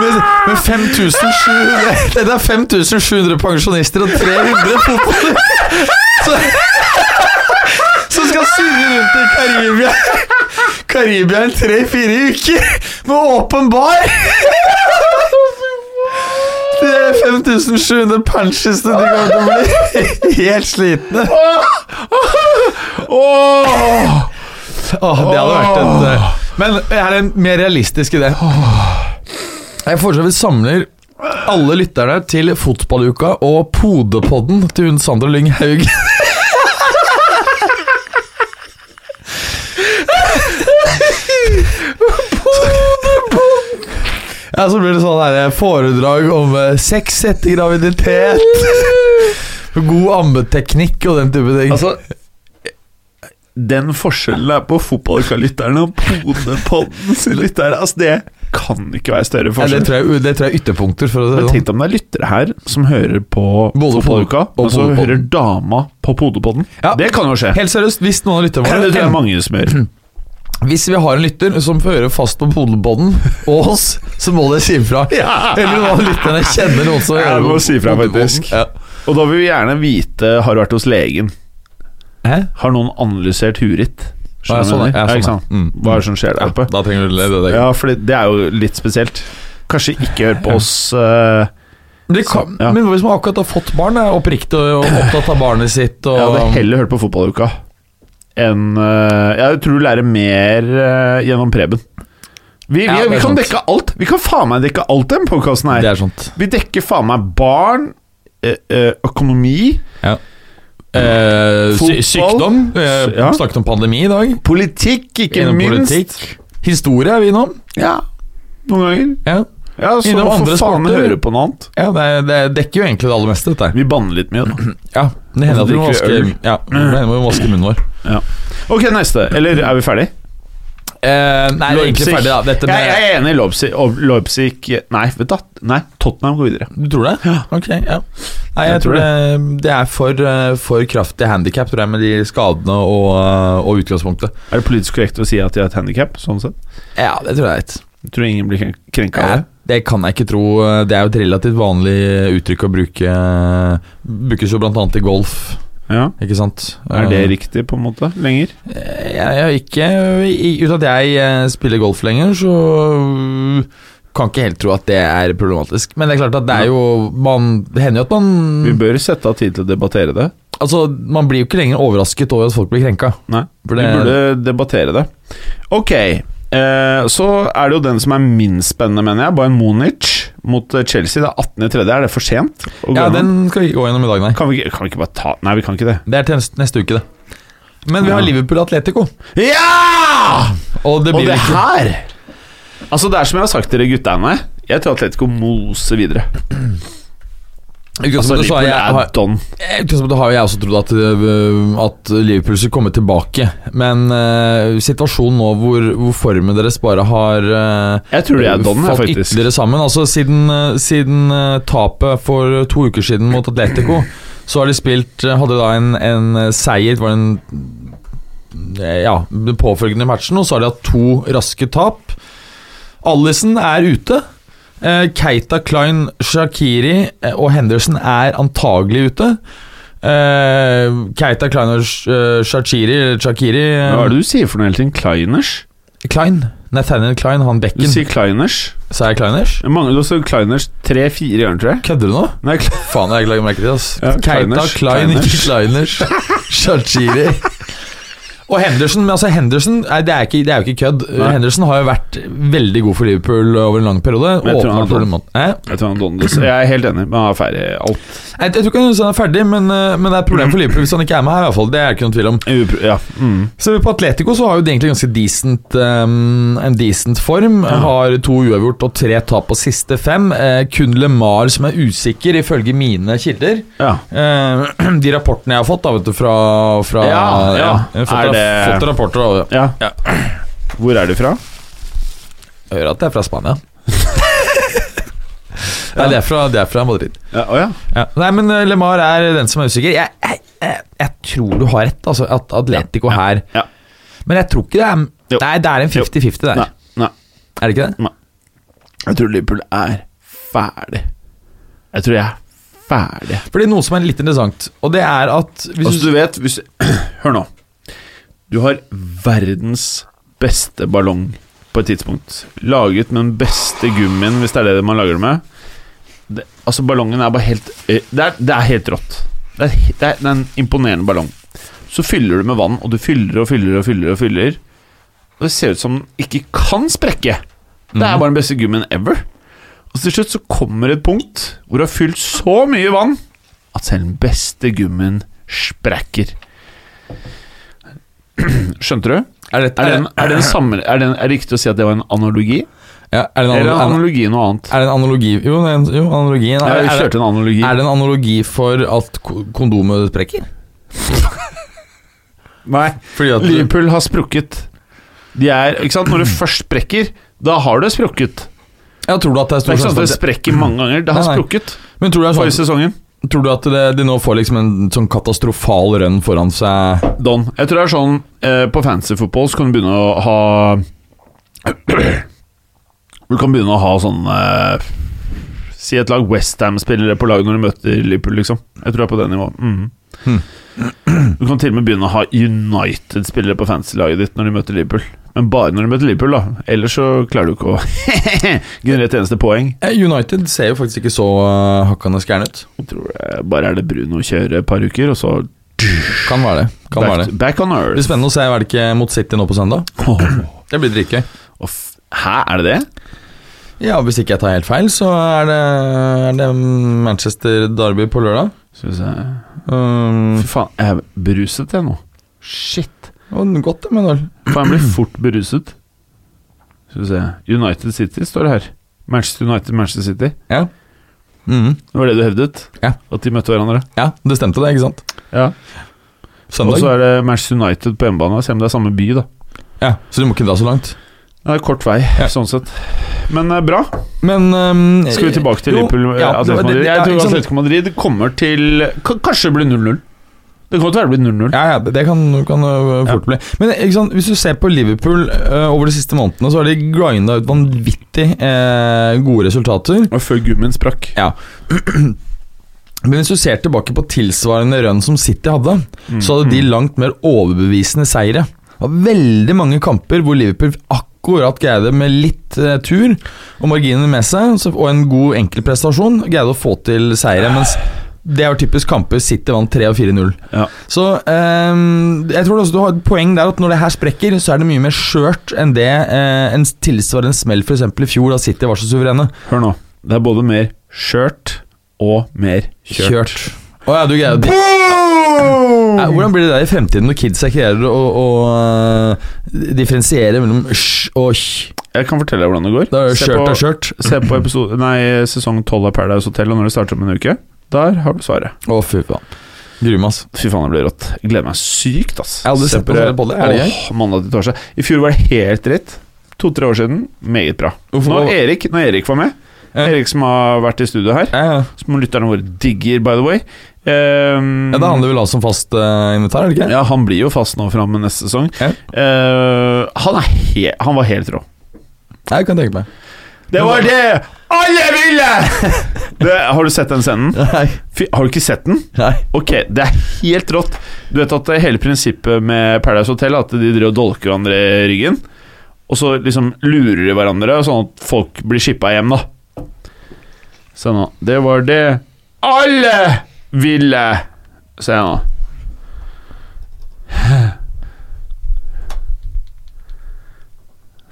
Med, med 5700 Det er 5700 pensjonister og 300 fotballer Så- som skal surre rundt i Karibia. Karibia i tre-fire uker med åpen bar. Det er 5700 punches de kommer til å bli helt slitne.
Åh!
Åh, det hadde vært en eh, Men her er en mer realistisk idé. Jeg foreslår vi samler alle lytterne til Fotballuka og Podepodden til hun Sandra Lyng Haug. Ja, så blir det sånn her foredrag om eh, sex etter graviditet. God ammeteknikk og den type ting.
Altså Den forskjellen er på fotballuka-lytterne og podepodden sine lyttere. Altså, det kan ikke være større
ja, det,
forskjell.
tror jeg, det tror jeg er ytterpunkter. For å si
Men
det sånn.
Tenk deg om det er lyttere her som hører på
Både
fotballuka,
pod- og
og så
podepodden.
hører dama på podepodden.
Ja.
Det kan jo skje.
Helt seriøst, hvis noen av lytterne
det tror jeg
våre
er mange som gjør.
Hvis vi har en lytter som fører fast på Podelpodden og oss, så må dere si ifra.
Ja.
Eller noen av lytterne kjenner noen som
Ja,
hører
må
på
si ifra,
Podelpodden.
faktisk.
Ja.
Og da vil vi gjerne vite Har du vært hos legen?
Hæ?
Har noen analysert huet ditt?
Ja,
du
sånn
hva jeg
er- ja,
mener? ikke
sånn er.
sant?
Mm.
Hva er det som skjer
Ja,
der oppe?
da trenger du det. det, det.
Ja, for det er jo litt spesielt. Kanskje ikke hør på oss eh,
Men det kan,
Ja.
Men hvis man akkurat har fått barn, er oppriktig og opptatt av barnet sitt og
Jeg hadde heller hørt på fotballuka enn eh, Jeg tror du lærer mer eh, gjennom Preben. Vi, vi,
Ja, det er
vi kan
sant.
dekke alt. Vi kan faen meg dekke alt i denne podkasten her.
Det er sånt.
Vi dekker faen meg barn, eh, eh, økonomi,
Eh, sy
Fotball.
sykdom. Eh,
Ja.
Snakket om pandemi i dag.
politikk, ikke
Innom
minst.
politikk. Historie er vi innom.
Ja, noen ganger.
Ja.
Ja, så
Innom
hvorfor
andre
faen
sporter.
høre på noe annet?
Ja, det, det dekker jo egentlig det aller meste, dette her.
Vi banner litt mye, da.
Ja, det hender at vi må
Og så drikker
vaske,
vi
ja, det hender vi må vaske munnen vår.
Ok, neste. Eller er vi ferdig?
Eh, nei, vi er egentlig ferdig, da. Dette med,
jeg, jeg er enig i Leipzig. og Leipzig Nei, vet du, hva? nei, Tottenham går videre.
Du tror det? Ja. Ok, ja. Nei, jeg,
Jeg
tror
tror
det, det er for, eh, for kraftig handikap med de skadene og, eh, og utgangspunktet.
Er det politisk korrekt å si at de har et handikap? Sånn sett?
Ja, det tror jeg er rett.
Jeg tror ingen blir kren- krenka av
Jeg-
det.
Det kan jeg ikke tro. Det er jo et relativt vanlig uttrykk å bruke. Brukes jo bl.a. i golf,
Ja.
ikke sant?
Er det
Eh,
riktig, på en måte? Lenger?
Jeg, jeg har ikke i- Uten at jeg eh, spiller golf lenger, så kan ikke helt tro at det er problematisk. Men det er klart at det er jo man, Det hender jo at man
Vi bør sette av tid til å debattere det.
Altså, man blir jo ikke lenger overrasket over at folk blir krenka.
Nei,
For
vi
det-
burde debattere det. Ok, eh, så er det jo den som er minst spennende, mener jeg. Bayern Munich mot eh, Chelsea. Det er 18.3. Er det for sent? å gå
Ja,
gjennom?
den skal vi ikke gå gjennom i dag, nei.
Kan vi, ikke- kan vi ikke bare ta Nei, vi kan ikke det.
Det er til neste- neste uke, det. Men vi har
Ja.
Liverpool Atletico.
Ja!
Og det
Og
blir
det
ikke
her Altså, det er som jeg har sagt til dere guttene. Jeg tror Atletico moser videre.
I
Altså,
utgangspunktet så har
Liverpool
jeg, Eh,
er
har,
don.
i utgangspunktet har jeg også trodd at, øh, at Liverpool skulle komme tilbake. Men øh, situasjonen nå hvor, hvor formen deres bare har øh,
Jeg tror de er don, jeg,
falt
faktisk.
ytterligere sammen. Altså, siden, øh, siden øh, tapet for to uker siden mot Atletico, så har de spilt øh, Hadde da en, en øh, seier, det var en eh, ja, den påfølgende matchen, og så har de hatt to raske tap. Allison er ute. Eh, Keita, Klein, Shakiri eh, og Henderson er antagelig ute. Eh, Keita, Klein og Sh- eh, Shakiri eller Shakiri eh,
Hva er det du sier for noe hele tiden? Kleiners?
Klein. Nathaniel Klein, han
Du
bekken.
sier Kleiners.
Sa jeg Kleiners?
Jeg mangler også Kleiners tre-fire ganger, tror jeg.
Kødder du nå?
Nei, Kle-
Faen, jeg legger merke til det. ass.
Ja,
Keita,
Kleiners,
Klein, ikke Kleiners. Shakiri. Og Henderson, men altså Henderson nei, det, er ikke, det er jo ikke kødd.
Nei.
Henderson har jo vært veldig god for Liverpool over en lang periode.
Men jeg tror han har
Åpenbart problemat- Hæ?
Jeg tror han Dondes Jeg er helt enig, men han er ferdig alt.
Nei, Jeg tror ikke han er ferdig, men, eh, men det er et problem for Liverpool hvis han ikke er med her. i hvert fall Det er det ikke noen tvil om
Upro- Ja. Mm.
Ser vi på Atletico, så har jo de egentlig ganske decent, ehm, en decent form. Har to uavgjort og tre tap på siste fem. Eh, kun LeMar som er usikker, ifølge mine kilder.
ja.
Eh, de rapportene jeg har fått da, vet du, fra, fra
Ja, ja.
jeg har fått,
Er det-
fått rapporter da,
ja. Hvor er du fra?
Jeg hører at det er fra Spania. Nei, det er fra, det er fra Madrid.
Ja, Å ja.
Ja. Nei, men eh, LeMar er den som er usikker. Jeg, jeg, jeg, jeg tror du har rett, altså, at Atletico her
ja.
Men jeg tror ikke det er
Jo.
Nei, det er en 50-50 der.
Nei. Mm. Nei.
Er det ikke det?
Jeg tror Liverpool er ferdig. Jeg tror jeg er ferdig.
Fordi noe som er litt interessant, og det er at hvis
Altså, du vet hvis Hør nå. Du har verdens beste ballong på et tidspunkt. Laget med den beste gummien, hvis det er det man lager det med. Det, altså, ballongen er bare helt eh, Det er, det er helt rått. Det er, he- det er, det er en imponerende ballong. Så fyller du med vann, og du fyller og fyller og fyller. Og fyller Og det ser ut som den ikke kan sprekke. Det er bare den beste gummien ever. Og til slutt så kommer et punkt hvor du har fylt så mye vann at selv den beste gummien sprekker. Skjønte du?
Er det,
Er det, en, er det, en sammen, er det, en, er det riktig å si at det var en analogi?
ja, er det en,
Eller er
anal-
analogi noe annet?
er det en analogi Jo, det er en, jo analogi er,
Jeg
er,
kjørte en analogi.
er det en analogi for at ko- kondomet sprekker?
Nei,
Fordi at
Liverpool har sprukket. De er, ikke sant? Når du først sprekker, da har det sprukket.
Ja, tror du at
Det
det er
er
stor
ikke sant at det
sjanse for
sprekker mange ganger. Det har
Nei, nei.
sprukket
at- Men tror du, det er
forrige
sånn,
sesongen.
tror du at det, de nå får liksom en sånn katastrofal rønn foran seg?
Don. Jeg tror det er sånn eh, På fantasy football så kan du begynne å ha Du kan begynne å ha sånn eh, Si et lag Westham-spillere på lag når du møter Liverpool, liksom. Jeg tror det er på det nivået. Mhm.
Hmm.
Du kan til og med begynne å ha United-spillere på fantasy-laget ditt når du møter Liverpool. Men bare når du møter Liverpool, da. Ellers så klarer du ikke å generere et eneste poeng.
Eh, United ser jo faktisk ikke så uh, hakkende skæren ut.
Jeg tror det bare er det Bruno kjører et par uker, og så
Kan være det. Kan
back,
være det.
back on
Det blir
earth.
spennende å se er det ikke mot City nå på søndag.
Åh,
Det blir dritgøy.
og f- Hæ, er det det?
Ja, hvis ikke jeg tar helt feil, så er det, er det Manchester Derby på lørdag.
Skal vi se
Um,
Fy faen, jeg er beruset jeg nå. Shit.
og godt det, men vel.
Faen, jeg blir fort beruset. Skal vi se United City står det her. Manchester United, Manchester City.
Ja. Mhm.
Det var det du hevdet?
Ja.
At de møtte hverandre?
ja, det stemte det, ikke sant?
Ja. Og
Søndag.
så er det Manchester United på hjemmebane, selv om det er samme by, da.
Ja, Så du må ikke dra så langt.
Det er kort vei, sånn sett. Men eh, bra.
Men ehm,
Skal vi tilbake til
jo,
Liverpool? eh,
ja, det
Atletico
var det-
Madrid?
ja,
Jeg tror
ikke sant.
Atletico Madrid kommer til k- Kanskje det blir 0-0. Det kan godt være det blir 0-0.
Ja, ja, det kan, kan øh, fort bli. Men ikke sant, hvis du ser på Liverpool øh, over de siste månedene, så har de grinda ut vanvittig øh, gode resultater.
Og før gummien sprakk.
Men hvis du ser tilbake på tilsvarende rønn som City hadde,
Mm,
så hadde de langt mer overbevisende seire. Det var veldig mange kamper hvor Liverpool akkurat greide med litt eh, tur og marginer med seg, så- og en god enkeltprestasjon, greide å få til seire. Mens det er jo typisk kamper City vant 3 og 4-0.
mm. Ja.
Så ehm, jeg tror også du har et poeng der at når det her sprekker, så er det mye mer skjørt enn det eh, en tilsvarende smell f.eks. i fjor, da City var så suverene.
Hør nå. Det er både mer skjørt og mer kjørt.
Å ja, du greier å
Boom!
Nei, Hvordan blir det der i fremtiden når kidsa greier å, å øh, differensiere mellom sj og sj?
Jeg kan fortelle deg hvordan det går.
Da er det
Se
skjørt
på-
og skjørt.
Se på episode, nei, sesong 12 av Paradise Hotel, og når det starter om en uke, der har du svaret.
Å, fy faen. Gruer meg, altså.
Fy faen, det blir rått. Jeg gleder meg sykt, ass.
Jeg har aldri
Se
sett på sånne boller. Er det
Åh, mandag til torsdag. I fjor var det helt dritt. To-tre år siden, meget bra.
Hvorfor-
Når Erik, når Erik var med
Ja.
Erik som har vært i studio her,
Ja, ja.
som lytterne våre digger, by the way. Ehm,
ja, Det handler vel altså om fast øh, invitar, er det ikke?
Mm. Ja, han blir jo fast nå fram med neste sesong.
Ja.
Eh, han, er he han var helt rå.
Ja, jeg kan tenke meg.
Det var det alle ville! det, har du sett den scenen?
Nei.
Fy, har du ikke sett den?
Nei.
Ok, det er helt rått. Du vet at det hele prinsippet med Paradise Hotel er at de driver og dolker hverandre i ryggen. Og så liksom lurer de hverandre, sånn at folk blir shippa hjem, da. Se nå. Det var det alle ville! Se nå.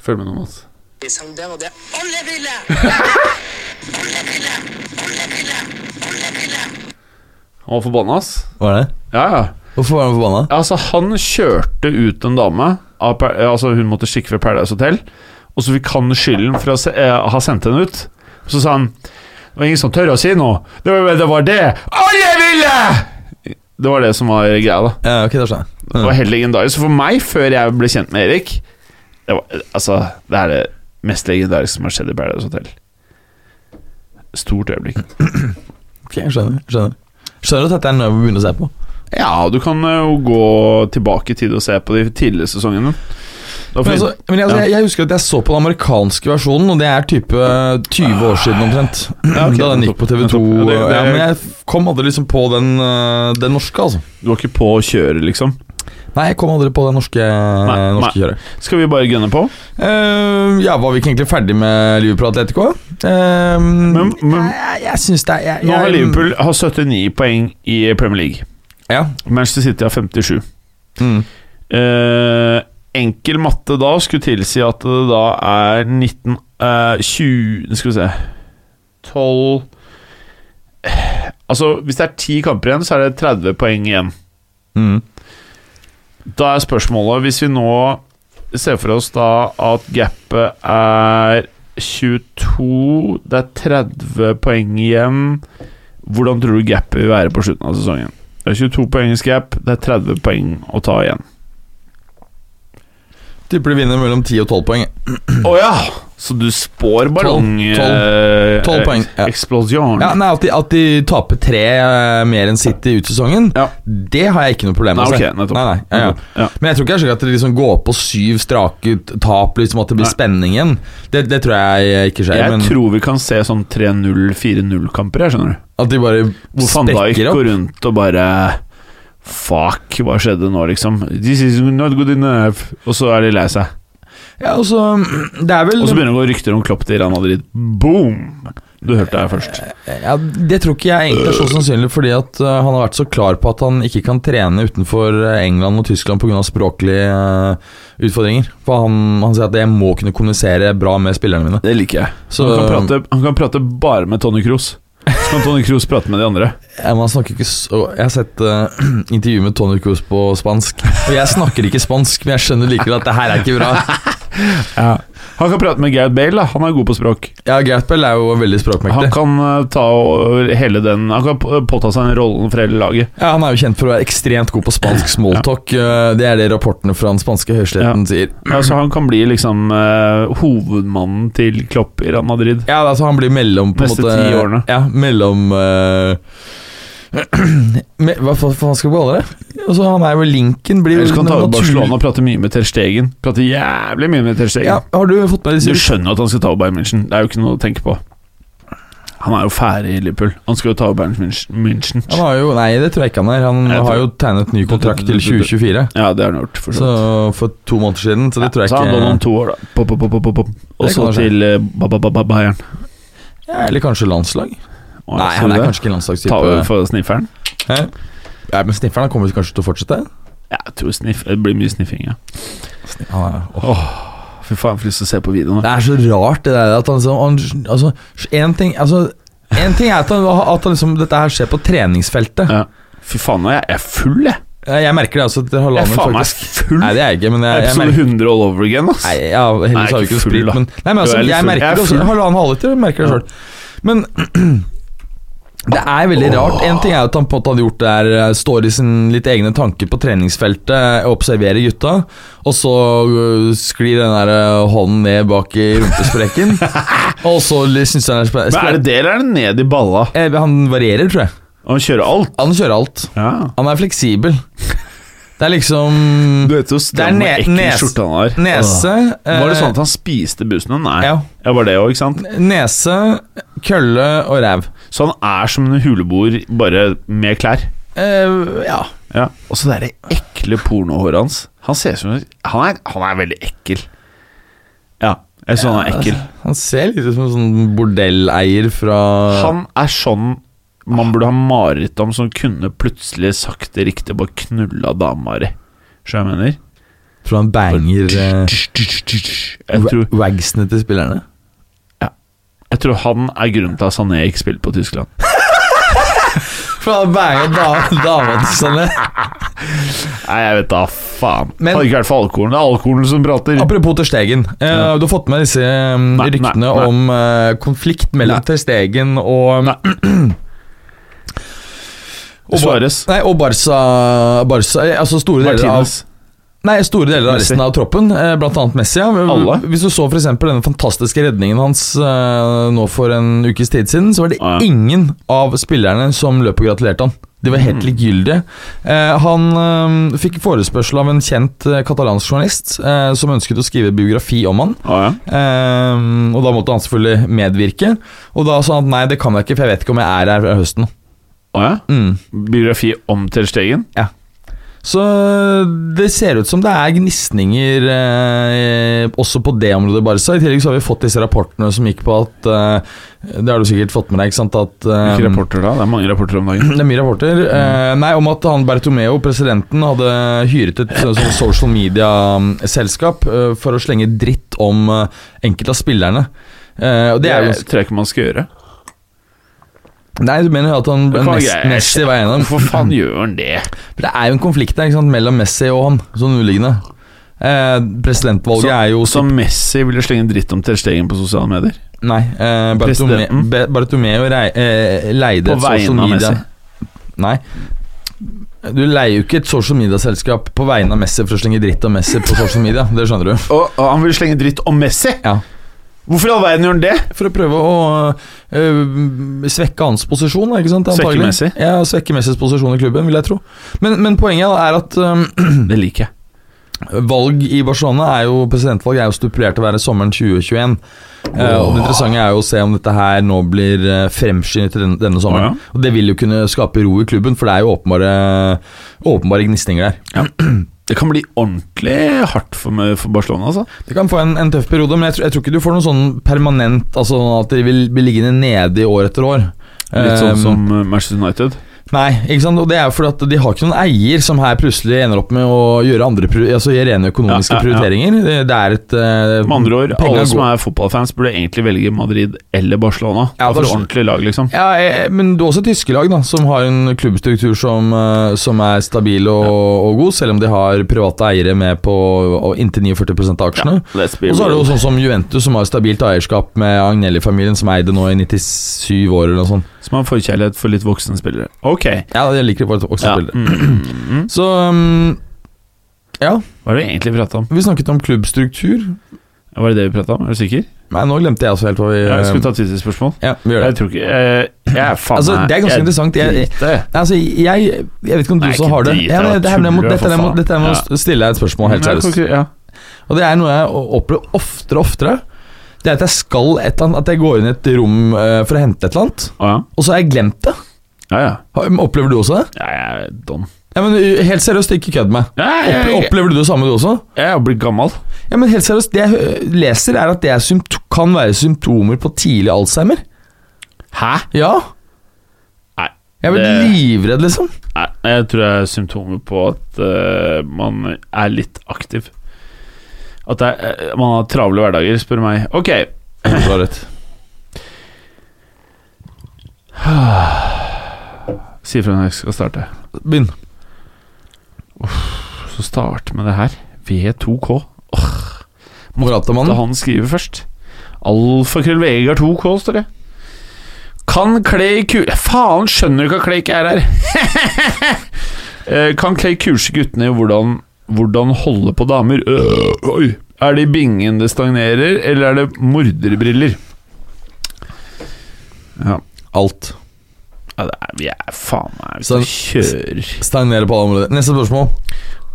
Følg med nå, Mats.
De sang den, og det alle ville!
Han var forbanna, ass.
Var det?
Ja, ja.
Hvorfor var han forbanna?
Altså, han kjørte ut en dame av, Pa- Altså, hun måtte stikke fra Paradise Hotel Og så fikk han skylden for å se, eh, ha sendt henne ut Så sa han Det var ingen som tør å si noe Det var det, var det. Alle ville! Det var det som var greia da
Ja, ok, da skjønner jeg.
Det var helt legendarisk Så for meg, før jeg ble kjent med Erik det var, Altså, det er det mest legendariske som har skjedd i Paradise Hotel Stort øyeblikk
Ok, jeg skjønner. Skjønner Skjønner at dette er noe vi begynner å se på.
Ja, du kan eh, jo gå tilbake i tid og se på de tidligere sesongene Da får
Men,
vi-
altså, men altså,
Ja.
jeg, jeg husker at jeg så på den amerikanske versjonen, og det er type 20 år siden omtrent.
Ja, ok,
da den gikk
nettopp,
på TV2.
nettopp. Ja,
Ja,
det- det-
men jeg kom aldri liksom på den, øh, den norske, altså.
Du var ikke på å kjøre, liksom?
Nei, jeg kom aldri på det norske, eh, norske
nei.
kjøret.
Skal vi bare gunne på?
Eh, ja, var vi ikke egentlig ferdig med Liverpool Atletico? Uh,
Men- men-
jeg, jeg syns det er jeg,
Nå har
jeg-
Liverpool har 79 poeng i Premier League.
Ja.
Manchester City har 57.
Mm.
Eh, enkel matte da skulle tilsi at det da er 19 eh, 20 Skal vi se 12 Eh, Altså, hvis det er 10 kamper igjen, så er det 30 poeng igjen.
Mm.
Da er spørsmålet Hvis vi nå ser for oss da at gapet er 22 Det er 30 poeng igjen Hvordan tror du gapet vil være på slutten av sesongen? Det er 22 poengs gap, det er 30 poeng å ta igjen.
Tipper de vinner mellom 10 og 12 poeng.
Å ja! Så du spår eh, ballong...
Tolv, tolv, tolv poeng, ja.
Eksplosjon.
Ja, nei, at, de, at de taper tre eh, mer enn City ut sesongen,
Ja.
det har jeg ikke noe problem med.
Nei,
å se.
ok, nettopp.
Nei, nei, ja,
Nettopp,
ja.
ja.
Men jeg tror ikke det er slik at det liksom går på syv strake ut- tap, liksom at det blir
Nei.
spenning igjen. Det, det tror jeg ikke skjer.
jeg
men
tror vi kan se sånn 3-0-4-0-kamper her, skjønner du.
at de bare
Hvor van Dijk
sprekker
går
opp.
rundt og bare Fuck, hva skjedde nå, liksom? This is not good enough. Og så er de lei seg.
Ja, og så Det er vel
Og så begynner det å gå rykter om Klopp til Real Madrid. Boom! Du hørte det her først.
Ja, Det tror ikke jeg egentlig er så sannsynlig, fordi at eh, han har vært så klar på at han ikke kan trene utenfor eh, England og Tyskland pga. språklige eh, utfordringer. For han, han sier at jeg må kunne kommunisere bra med spillerne mine.
Det liker jeg.
Så
han, kan prate, han kan prate bare med Tony Cruz. Så kan Tony Cruz prate med de andre.
Ja, men han Eh, snakker ikke så Jeg har sett eh, intervju med Tony Cruz på spansk, og jeg snakker ikke spansk, men jeg skjønner likevel at det her er ikke bra.
Han kan prate med Gareth Bale, da. Han er god på språk.
Ja, Gareth Bale er jo veldig
Han
språkmektig.
kan eh, ta over hele den Han kan p- påta seg den rollen for hele laget.
Ja, Han er jo kjent for å være ekstremt god på spansk smalltalk. eh, Det er det rapportene fra den spanske høysletten sier.
Ja, så Altså, han kan bli liksom eh, hovedmannen til Klopp i Real Madrid.
Ja, altså han blir mellom på en
Neste
måte,
ti årene.
Ja, mellom eh, me, hva, fa- faen skal vi kalle det? Altså, han er jo linken blir jo
Ellers kan han ta over
naturlig-
Barcelona og prate mye med Ter Stegen. Prate jævlig mye med Ter Stegen.
Ja, har du fått med deg
Du
disse
skjønner at han skal ta over Bayern München. Det er jo ikke noe å tenke på. Han er jo ferdig i Liverpool. Han skal jo ta over Bayern München- München.
Han har jo Nei, det tror jeg ikke han er. Han
Jeg tror-
har jo tegnet ny kontrakt til 2024.
Ja, det har han gjort. For så
Så
vidt.
for to måneder siden, så det tror jeg
så han låner om
ikke
to år, da. Pop, pop, pop, pop, pop. Og
Det
så
kan skje.
til eh, ba, ba, ba, ba, Bayern.
ja, Eller kanskje landslag?
Og
Nei,
så
han er
det.
kanskje ikke
Ta over
landslagstype.
for snifferen?
Hæ? Ja, men snifferen han kommer kanskje til å fortsette?
Ja, jeg tror sniff, det blir mye sniffing, ja.
Han er,
Fy faen, jeg får lyst til å se på videoen.
Det er så rart det der at han liksom han, Altså, en ting altså, En ting er at, han, at han liksom, dette her skjer på treningsfeltet.
Ja. Fy faen, nå er jeg- jeg er full, jeg.
Jeg, jeg merker det altså etter
Jeg
halvannen
er
uke,
faen meg
faktisk.
full.
Nei, det er jeg ikke, men jeg, jeg
Episode
merker
100 all over again, ass.
Nei, ja, heldigvis har vi
ikke
ikke noe
full,
sprit,
da.
men Nei, men
Du
altså,
er litt
jeg
full.
merker
Jeg er
det også.
full.
Halvannen halvliter, jeg merker det
Ja.
sjøl. Men det er veldig rart. En ting er jo at han på en måte hadde gjort det her, eh, står i sin litt egne tanker på treningsfeltet, eh, observerer gutta, og så øh, sklir den der eh, hånden ned bak i rumpesprekken, og så syns han er
Men er
spennende.
det det, eller er det ned i balla?
Eh, Han varierer, tror jeg.
Han kjører alt.
Han kjører alt.
Ja.
Han er fleksibel. Det er liksom
Du vet jo stram og
ne-
ekkel
nes-
skjorte han har.
Nese
Åh. Var det
eh,
sånn at han spiste bussen? Nei.
Ja.
ja, var det òg, ikke sant?
Nese, kølle og ræv.
Så han er som en huleboer, bare med klær.
Eh, ja.
Ja. Og så det er det ekle pornohåret hans. Han ser ut som han er, han er veldig ekkel. Ja, jeg så han er ekkel.
Han ser litt ut som en sånn bordelleier fra
Han er sånn man burde ha mareritt om, som kunne plutselig sakte riktig bare knulla dama di. Skjønner du hva jeg mener?
Fra en banger eh,
Jeg tror,
wa- Wagsene til spillerne.
jeg tror han er grunnen til at Sané ikke spilte på Tyskland.
Fra en banger da- dama til sånne
Nei, jeg vet da faen.
Men-
Hadde ikke vært for alkoholen. Det er alkoholen som prater.
Apropos Ter Stegen. eh, Du har fått med disse eh,
nei,
ryktene
nei.
om eh, konflikt mellom
Nei.
Ter Stegen og og Bar-
Suarez.
Nei, og Barca, Barca eh, Altså store deler
Martinez.
av Nei, store deler av
Messi.
resten av troppen, eh, blant annet Messi. Ja.
Alle?
Hvis du så for eksempel denne fantastiske redningen hans eh, nå for en ukes tid siden, så var det
Ja.
ingen av spillerne som løp og gratulerte han. De var
Mm.
helt likegyldige. Eh, han eh, fikk forespørsel av en kjent eh, katalansk journalist eh, som ønsket å skrive biografi om han.
Å, ja.
Ehm, og da måtte han selvfølgelig medvirke. Og da sa han at nei, det kan jeg ikke, for jeg vet ikke om jeg er her fra høsten.
Å, ja.
Mm.
Biografi om Ter Stegen.
Så øh, det ser ut som det er gnisninger eh, også på det området, Barca. I tillegg så har vi fått disse rapportene som gikk på at eh, Det har du sikkert fått med deg, ikke sant? At eh,
Hvilke rapporter Mm. da? Det er mange rapporter om dagen.
Det er mye rapporter. Eh, nei, om at han Bertomeo, presidenten, hadde hyret et sånn sånn social media-selskap eh, for å slenge dritt om eh, enkelte av spillerne. Eh, og det er jo
tror jeg ikke man skal gjøre.
Nei, du mener at han
Det kan være
Messi,
greit.
Messi var en av dem?
Hvorfor faen gjør han det?
For det er jo en konflikt der ikke sant, mellom Messi og han, sånn uliggende. Eh, presidentvalget er jo
Som Messi ville slenge dritt om Ter Stegen på sosiale medier.
Nei, eh, Bartome,
presidenten?
Be- Bartomeu rei, eh, leide
På
et
vegne
social
av
media
Messi.
Nei. Du leier jo ikke et social media-selskap på vegne av Messi for å slenge dritt om Messi på sosiale media. Det skjønner du.
Og, og han ville slenge dritt om Messi?
Ja.
Hvorfor i all verden gjør han det?
For å prøve å øh, svekke hans posisjon, da, ikke sant?
Svekke
antagelig.
Messi?
Ja, svekke Messis posisjon i klubben, vil jeg tro. Men, men poenget da er at øh,
Det liker jeg.
Valg i Barcelona er jo Presidentvalg er jo stipulert til å være sommeren 2021. Eh, og Det interessante er jo å se om dette her nå blir eh, fremskyndet til denne, denne sommeren.
Å,
Og Det vil jo kunne skape ro i klubben, for det er jo åpenbare, åpenbare gnisninger der.
Det kan bli ordentlig hardt for, meg, for Barcelona, altså.
Det kan få en, en tøff periode, men jeg, tror- jeg tror ikke du får noe sånn permanent Altså at de vil bli liggende nede i år etter år.
Litt sånn
Eh,
som eh, Manchester United.
Nei, ikke sant? og det er jo fordi at de har ikke noen eier som her plutselig ender opp med å gjøre andre pri- altså gjøre rene
Ja,
økonomiske
ja, ja.
prioriteringer. Det er et eh,
Med andre ord,
penger
alle som
går-
er fotballfans, burde egentlig velge Madrid eller Barcelona.
Ja,
for
Barce-
ordentlig lag, liksom.
ja, eh, men det er også tyske lag da, som har en klubbstruktur som, eh, som er stabil og, og god, selv om de har private eiere med på og inntil 49 av aksjene.
Let's be
Og så er det jo
real.
sånn som Juventus, som har stabilt eierskap med Agnelli-familien, som eide nå i 97 år eller noe sånt.
Som har forkjærlighet for litt voksne spillere. Ok,
Ja, jeg liker det bare også
Ja. Mm.
spillere. Så um, Ja,
hva er det vi egentlig prata om?
vi snakket om klubbstruktur.
Var det det vi prata om? Er du sikker?
Nei, nå glemte jeg også helt hva vi
Jeg skulle ta Twitter-spørsmål.
Ja, vi gjør det.
Jeg tror ikke eh, Jeg er faen
Altså,
meg-
det er ganske
jeg
interessant. Jeg-
driter.
Altså, jeg, jeg vet ikke om du
Nei,
så
ikke
har det.
drit,
Ja, men
jeg
det her, men jeg må,
tuller,
dette,
for
jeg må,
faen.
dette jeg må
Ja.
stille deg et spørsmål, helt
Men jeg
seriøst.
kan ikke- Ja.
Og det er noe jeg o- opplever oftere og oftere. Det er at jeg skal et eller annet At jeg går inn i et rom eh, for å hente et eller annet,
Å, ja.
og så har jeg glemt det.
Ja, ja.
Har- Opplever du også det?
Ja, Jeg er don.
Ja, men uh, Helt seriøst, ikke kødd med meg.
Ja, jeg,
Opple-
jeg,
Opplever du det samme, du også?
jeg har blitt gammel.
Ja, men helt seriøst, Det jeg hø- leser, er at det er sympto kan være symptomer på tidlig alzheimer.
Hæ?
Ja.
Nei.
Jeg er
det-
blitt livredd, liksom.
Nei, jeg tror det er symptomer på at eh, man er litt aktiv. At det er, eh, man har travle hverdager, spør du meg. Ok,
Du har rett.
si ifra når jeg skal starte.
Begynn.
Så start med det her. V2K. Da
Moratamannen.
han skriver først. Alfakrøll Vegard 2K, står det. Kan Clay ku... Eh, Faen, skjønner du ikke at Clay ikke er her? Eh, kan Clay kurse guttene i hvordan, hvordan holde på damer? Øh, oi. Er det i bingen det stagnerer, eller er det morderbriller? Ja,
Alt.
ja det er, vi er faen meg
Så-
Vi kjører.
Stagnere på alle områder. Neste spørsmål.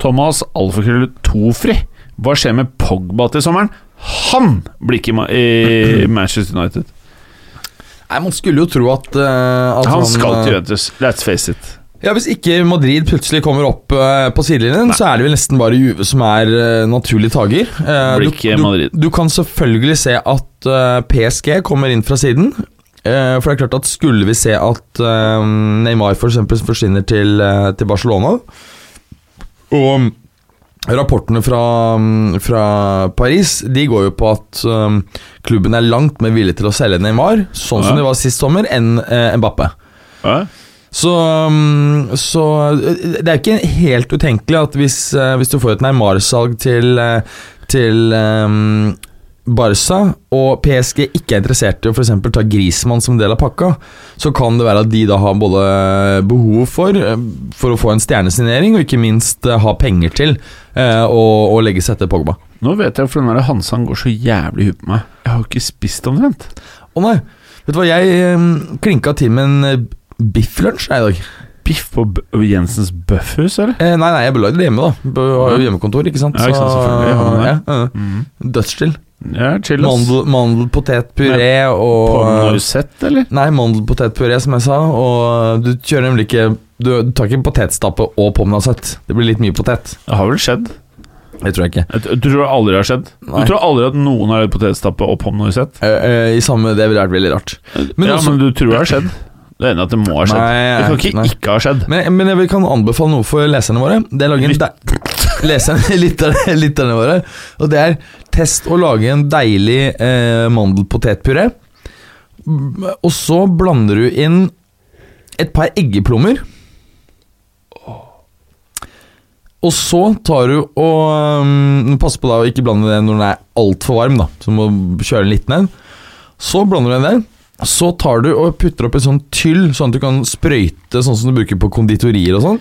Thomas Alfakrøll Tofri. Hva skjer med Pogba til sommeren? Han blir ikke i Ma- i Manchester United.
Nei, Man skulle jo tro at, eh, at
Han skal
eh,
til Juventus. Let's face it.
Ja, Hvis ikke Madrid plutselig kommer opp eh, på sidelinjen, så er det vel nesten bare Juve som er eh, naturlig tager. Eh,
Blir ikke
du,
Madrid.
du, du kan selvfølgelig se at eh, PSG kommer inn fra siden. Eh, for det er klart at skulle vi se at eh, Neymar for eksempel forsvinner til, eh, til Barcelona Og mm, rapportene fra, mm, fra Paris De går jo på at eh, klubben er langt mer villig til å selge Neymar, sånn
Ja.
som de var sist sommer, enn eh, Mbappé. Så, um, så uh, det er jo ikke helt utenkelig at hvis, uh, hvis du får et Neymar-salg til, uh, til um, Barca, og PSG ikke er interessert i å for eksempel ta Grismann som del av pakka, så kan det være at de da har både behov for uh, For å få en stjernesignering, og ikke minst uh, ha penger til uh, å, å legge seg etter Pogba.
Nå vet jeg hvorfor den der Hansan går så jævlig i huet på meg. Jeg har jo ikke spist omtrent.
Å nei! Vet du hva, jeg um, klinka til med en uh, bifflunsj jeg, i dag.
Biff på B Jensens Bøffhus, eller?
Eh, nei, nei, jeg belagde det hjemme, da. Bø- Har jo hjemmekontor, ikke sant.
Ja, ikke sant, selvfølgelig har man det.
ja, ja.
Mm.
Dødschill.
Ja, chill, ass.
Mandel, mandelpotetpuré og eh,
Pommes eller?
Nei, mandelpotetpuré, som jeg sa. Og eh, du kjører nemlig ikke Du, du tar ikke en potetstappe og pommes nauset. Det blir litt mye potet.
Det har vel skjedd?
Det tror jeg ikke.
Jeg t- Du tror det aldri har skjedd?
Nei.
Du tror aldri at noen har lagd potetstappe og pommes noisette?
Eh, I samme Det ville vært veldig rart. Men
Ja,
også-
men du tror det har skjedd? Det er enig at det må ha skjedd.
Nei,
det kan ikke
nei.
ikke ha skjedd.
Men, men jeg vil- kan anbefale noe for leserne våre. Det er å lage en de leserne, lytterne, lytterne våre. Og det er test å lage en deilig eh, mandelpotetpuré. Mm, Og så blander du inn et par eggeplommer. Og så tar du og um, Pass på da å ikke blande det når den er altfor varm, da. Så du må kjøre den litt ned. Så blander du den der. Så tar du og putter opp en sånn tyll, sånn at du kan sprøyte, sånn som du bruker på konditorier og sånn.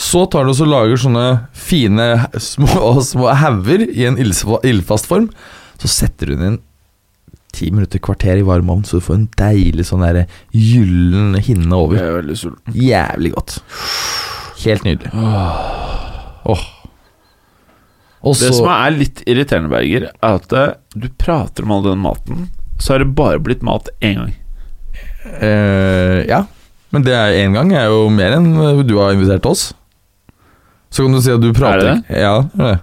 Så tar du og så lager sånne fine små, små hauger i en ildsfa- ildfast form. Så setter du den inn ti minutter, kvarter i varm ovn, så du får en deilig sånn der gyllen hinne over.
er veldig sulten.
Jævlig godt. Helt nydelig. Åh. Og
Det som
så
er litt irriterende, Berger, er at eh, du prater om all den maten, så har det bare blitt mat én gang.
eh, Ja. Men det er én gang er jo mer enn eh, du har invitert oss. Så kan du si at du prater
Er det
ikke- Ja, det er det.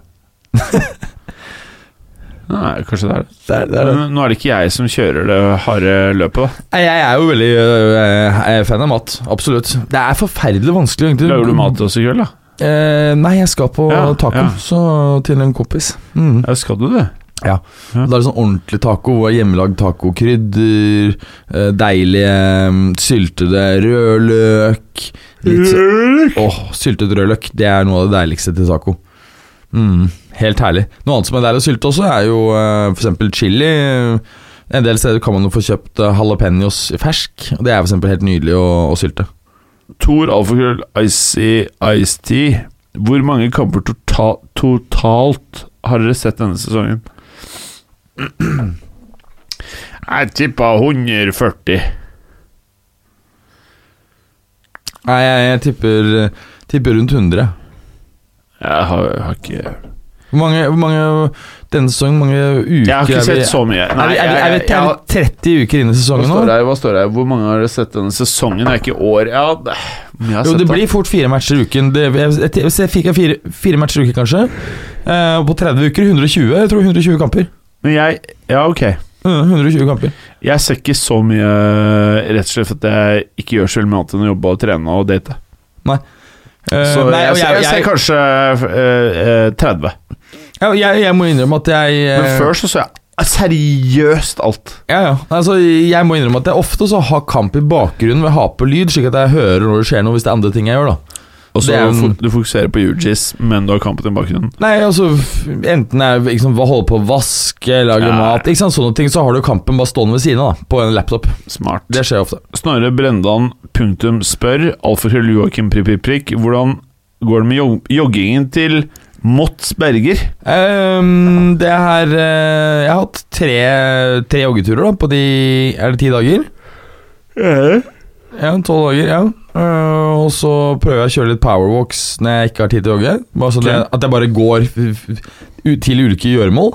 Nei, kanskje det er det.
Det er, det er det.
Men nå er det ikke jeg som kjører det harde løpet, da.
Nei, Jeg er jo veldig øh, øh, fan av mat. Absolutt. Det er forferdelig vanskelig. egentlig.
Lager du mat til oss i kveld, da?
Eh, nei, jeg skal på
Ja,
taco
ja.
Så til en kompis. Mm.
Ja, skal du det?
Ja.
Ja.
Da er det sånn ordentlig taco. hvor det er Hjemmelagd tacokrydder. eh, Deilige mm, syltede rødløk. Litt så, åh, syltet rødløk. Det er noe av det deiligste til taco. Mm, helt herlig. Noe annet som er deilig å sylte også, er jo eh, for eksempel chili. En del steder kan man jo få kjøpt eh, jalapeños fersk. og Det er for eksempel helt nydelig å, å sylte.
Tor Alfakrøll Icy Ice Tea. Hvor mange kamper tota- totalt har dere sett denne sesongen? Jeg tippa 140.
Nei, jeg, jeg tipper, tipper rundt 100.
Jeg har, har ikke
Hvor mange, hvor mange Denne sesongen, hvor mange uker
Jeg har ikke
er vi-
sett så mye.
er, vi, er, vi, er, vi, er vi 30 uker inn i
hva
sesongen nå?
står det her? Hva står det her? Hvor mange har dere sett denne sesongen? Det er ikke år Ja, det, men jeg har
Jo,
sett
det
da.
blir fort fire matcher i uken. Det, jeg, jeg, jeg, jeg fikk fire, fire matcher i uken, kanskje. Eh, og på 30 uker 120. Jeg tror 120 kamper.
Men jeg Ja, ok.
Mm, 120 kamper.
Jeg ser ikke så mye rett og slett for at jeg ikke gjør så veldig mye annet enn å jobbe og trene og date.
Eh,
Så
nei,
jeg,
og
ser- jeg, ser
jeg,
kanskje eh, eh, 30.
jeg, jeg, jeg må innrømme at jeg eh,
Men før så så jeg seriøst alt.
Ja, ja. Altså, jeg må innrømme at jeg ofte så har kamp i bakgrunnen ved å ha på lyd, slik at jeg hører når det skjer noe, hvis det er andre ting jeg gjør, da.
Og så
Det er jo en-
fo- du fokuserer på UGIS, men du har kampen i bakgrunnen.
Nei, altså f- Enten jeg liksom, holder på å vaske, lage
Ja.
mat ikke sant? Sånne ting, så har du kampen bare stående ved siden av. da På en laptop.
Smart.
Det skjer ofte.
Snorre Brendan punktum spør Alfakrøll Joakim prikk, prikk, prikk Hvordan går det med jog joggingen til Mots Berger?
Ehm, det her eh, Jeg har hatt tre, tre joggeturer da på de Er det ti dager?
Eh.
Ja, tolv dager. ja Eh, Og så prøver jeg å kjøre litt powerwalks når jeg ikke har tid til å jogge. Bare sånn
Ok.
at- at jeg bare går f- f- ut til ulike gjøremål.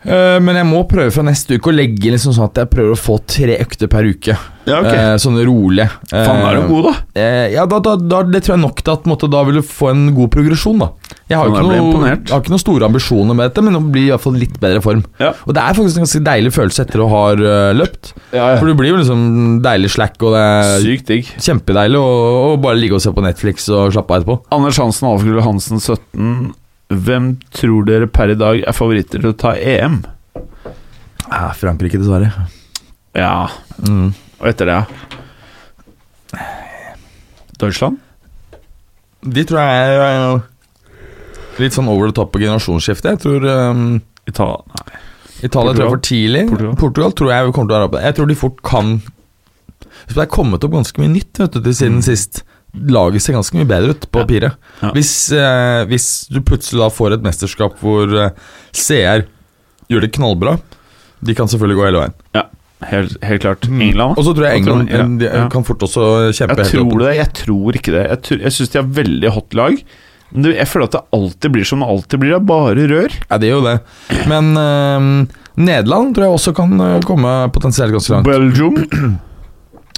Eh, men jeg må prøve fra neste uke å legge liksom sånn at jeg prøver å få tre økter per uke.
Ja, ok.
Eh, sånn rolig. Eh,
Faen, er du god, da?
Eh, ja, da, da, da, det tror jeg nok til at på en måte, da vil du få en god progresjon, da. Jeg har,
Faen,
jo ikke
jeg ble
noe,
imponert.
jeg har ikke noen store ambisjoner med dette, men å bli i hvert fall litt bedre form.
Ja.
Og det er faktisk en ganske deilig følelse etter å ha eh, løpt.
Ja,
For du blir jo liksom deilig slack, og det er
Sykt digg.
kjempedeilig å å bare ligge og se på Netflix og slappe av etterpå.
Anders Hansen, Alfakrøll Hansen 17. Hvem tror dere per i dag er favoritter til å ta E EM?
Ja, Frankrike, dessverre.
Ja,
Mm.
og etter det, ja? Deutschland?
De tror jeg er eh, litt sånn over the top på generasjonsskiftet. Jeg tror eh,
Italia Nei.
Italia tror jeg er for tidlig.
Portugal.
Portugal, tror jeg kommer til å være oppe. Jeg tror de fort kan Så Det er kommet opp ganske mye nytt vet du, til siden sist. Laget ser ganske mye bedre ut
Mm.
på
Ja.
papiret.
Ja.
Hvis, eh, hvis du plutselig da får et mesterskap hvor eh, CR gjør det knallbra De kan selvfølgelig gå hele veien.
Ja, helt, helt klart. England? da?
Mm. Og så tror
Hva
jeg
tror
England
du? Ja,
eh, de,
ja.
kan fort også kjempe
Jeg
helt
tror
opp.
det, jeg tror ikke det. Jeg, tror- jeg syns de har veldig hot lag. Men det, jeg føler at det alltid blir som det alltid blir, det er bare rør.
Ja, det er jo det. Men eh, Nederland tror jeg også kan eh, komme potensielt ganske langt.
Belgium.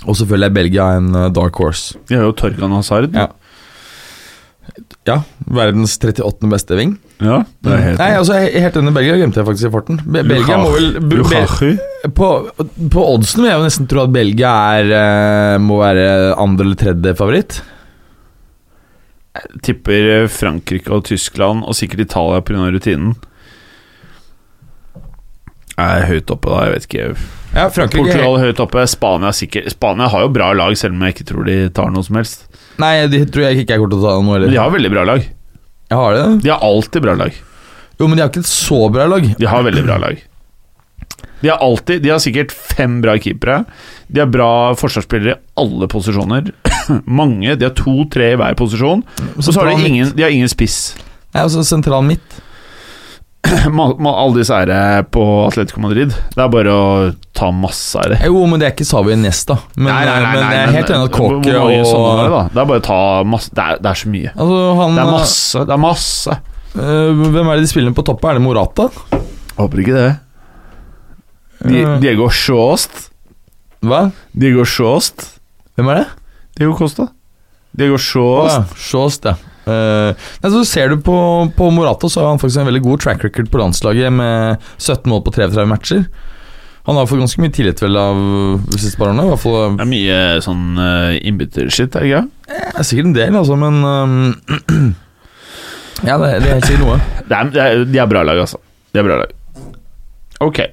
Og selvfølgelig er Belgia en eh, dark horse.
De har jo Torgan Hazard.
Ja. Ja, verdens 38. beste ving.
Ja, det er helt
Nei, altså he- Helt under Belgia glemte jeg faktisk i farten. Be Belgia må vel be be
Lukaku.
på, på oddsen vil jeg jo nesten tro at Belgia er, eh, må være andre eller tredje favoritt.
Tipper eh, Frankrike og Tyskland, og sikkert Italia pga. rutinen. Jeg er høyt oppe, da. Jeg vet ikke.
Ja, Frankrike
Portugal er høyt oppe. Spania, er sikkert. Spania har jo bra lag, selv om jeg ikke tror de tar noe som helst.
Nei, de tror jeg ikke jeg kommer til å ta noe
Men de
heller.
har veldig bra lag.
Jeg har det.
De har alltid bra lag.
Jo, men de har ikke et så bra lag.
De har veldig bra lag. De har alltid De har sikkert fem bra keepere. De har bra forsvarsspillere i alle posisjoner. Mange. De har to-tre i hver posisjon. Og så har de ingen, de har ingen spiss.
Nei, altså Sentral midt.
Må, må alle disse ære på Atletico Madrid. Det er bare å ta masse ære.
Jo, men det er ikke Savi Niesta. Men, men jeg er helt enig at
hvor- hvor
Kåke
mange sånne er det,
og
da? det er bare å ta masse Det er, det er så mye.
Altså, han
Det er masse. Det er masse.
eh, Hvem er det de spiller med på toppen? Er det Morata?
Håper ikke det. Di,
Eh,
Diego Sjåst.
Hva?
Diego Sjåst.
Hvem er det?
Diego Costa. Diego
Å
Sjåst.
ja. Sjåst, ja. Eh, nei, så ser du på, på Morata, så har han faktisk en veldig god track record på landslaget med 17 mål på 33 matcher. Han har fått ganske mye tillit vel av de siste par årene. I hvert fall eh,
Det er mye sånn uh, innbyttershit, er det ikke?
det er sikkert en del, altså, men ehm, Ja, det, det er helt sikkert noe.
Det er, det er, de er bra lag, altså. De er bra lag. Ok.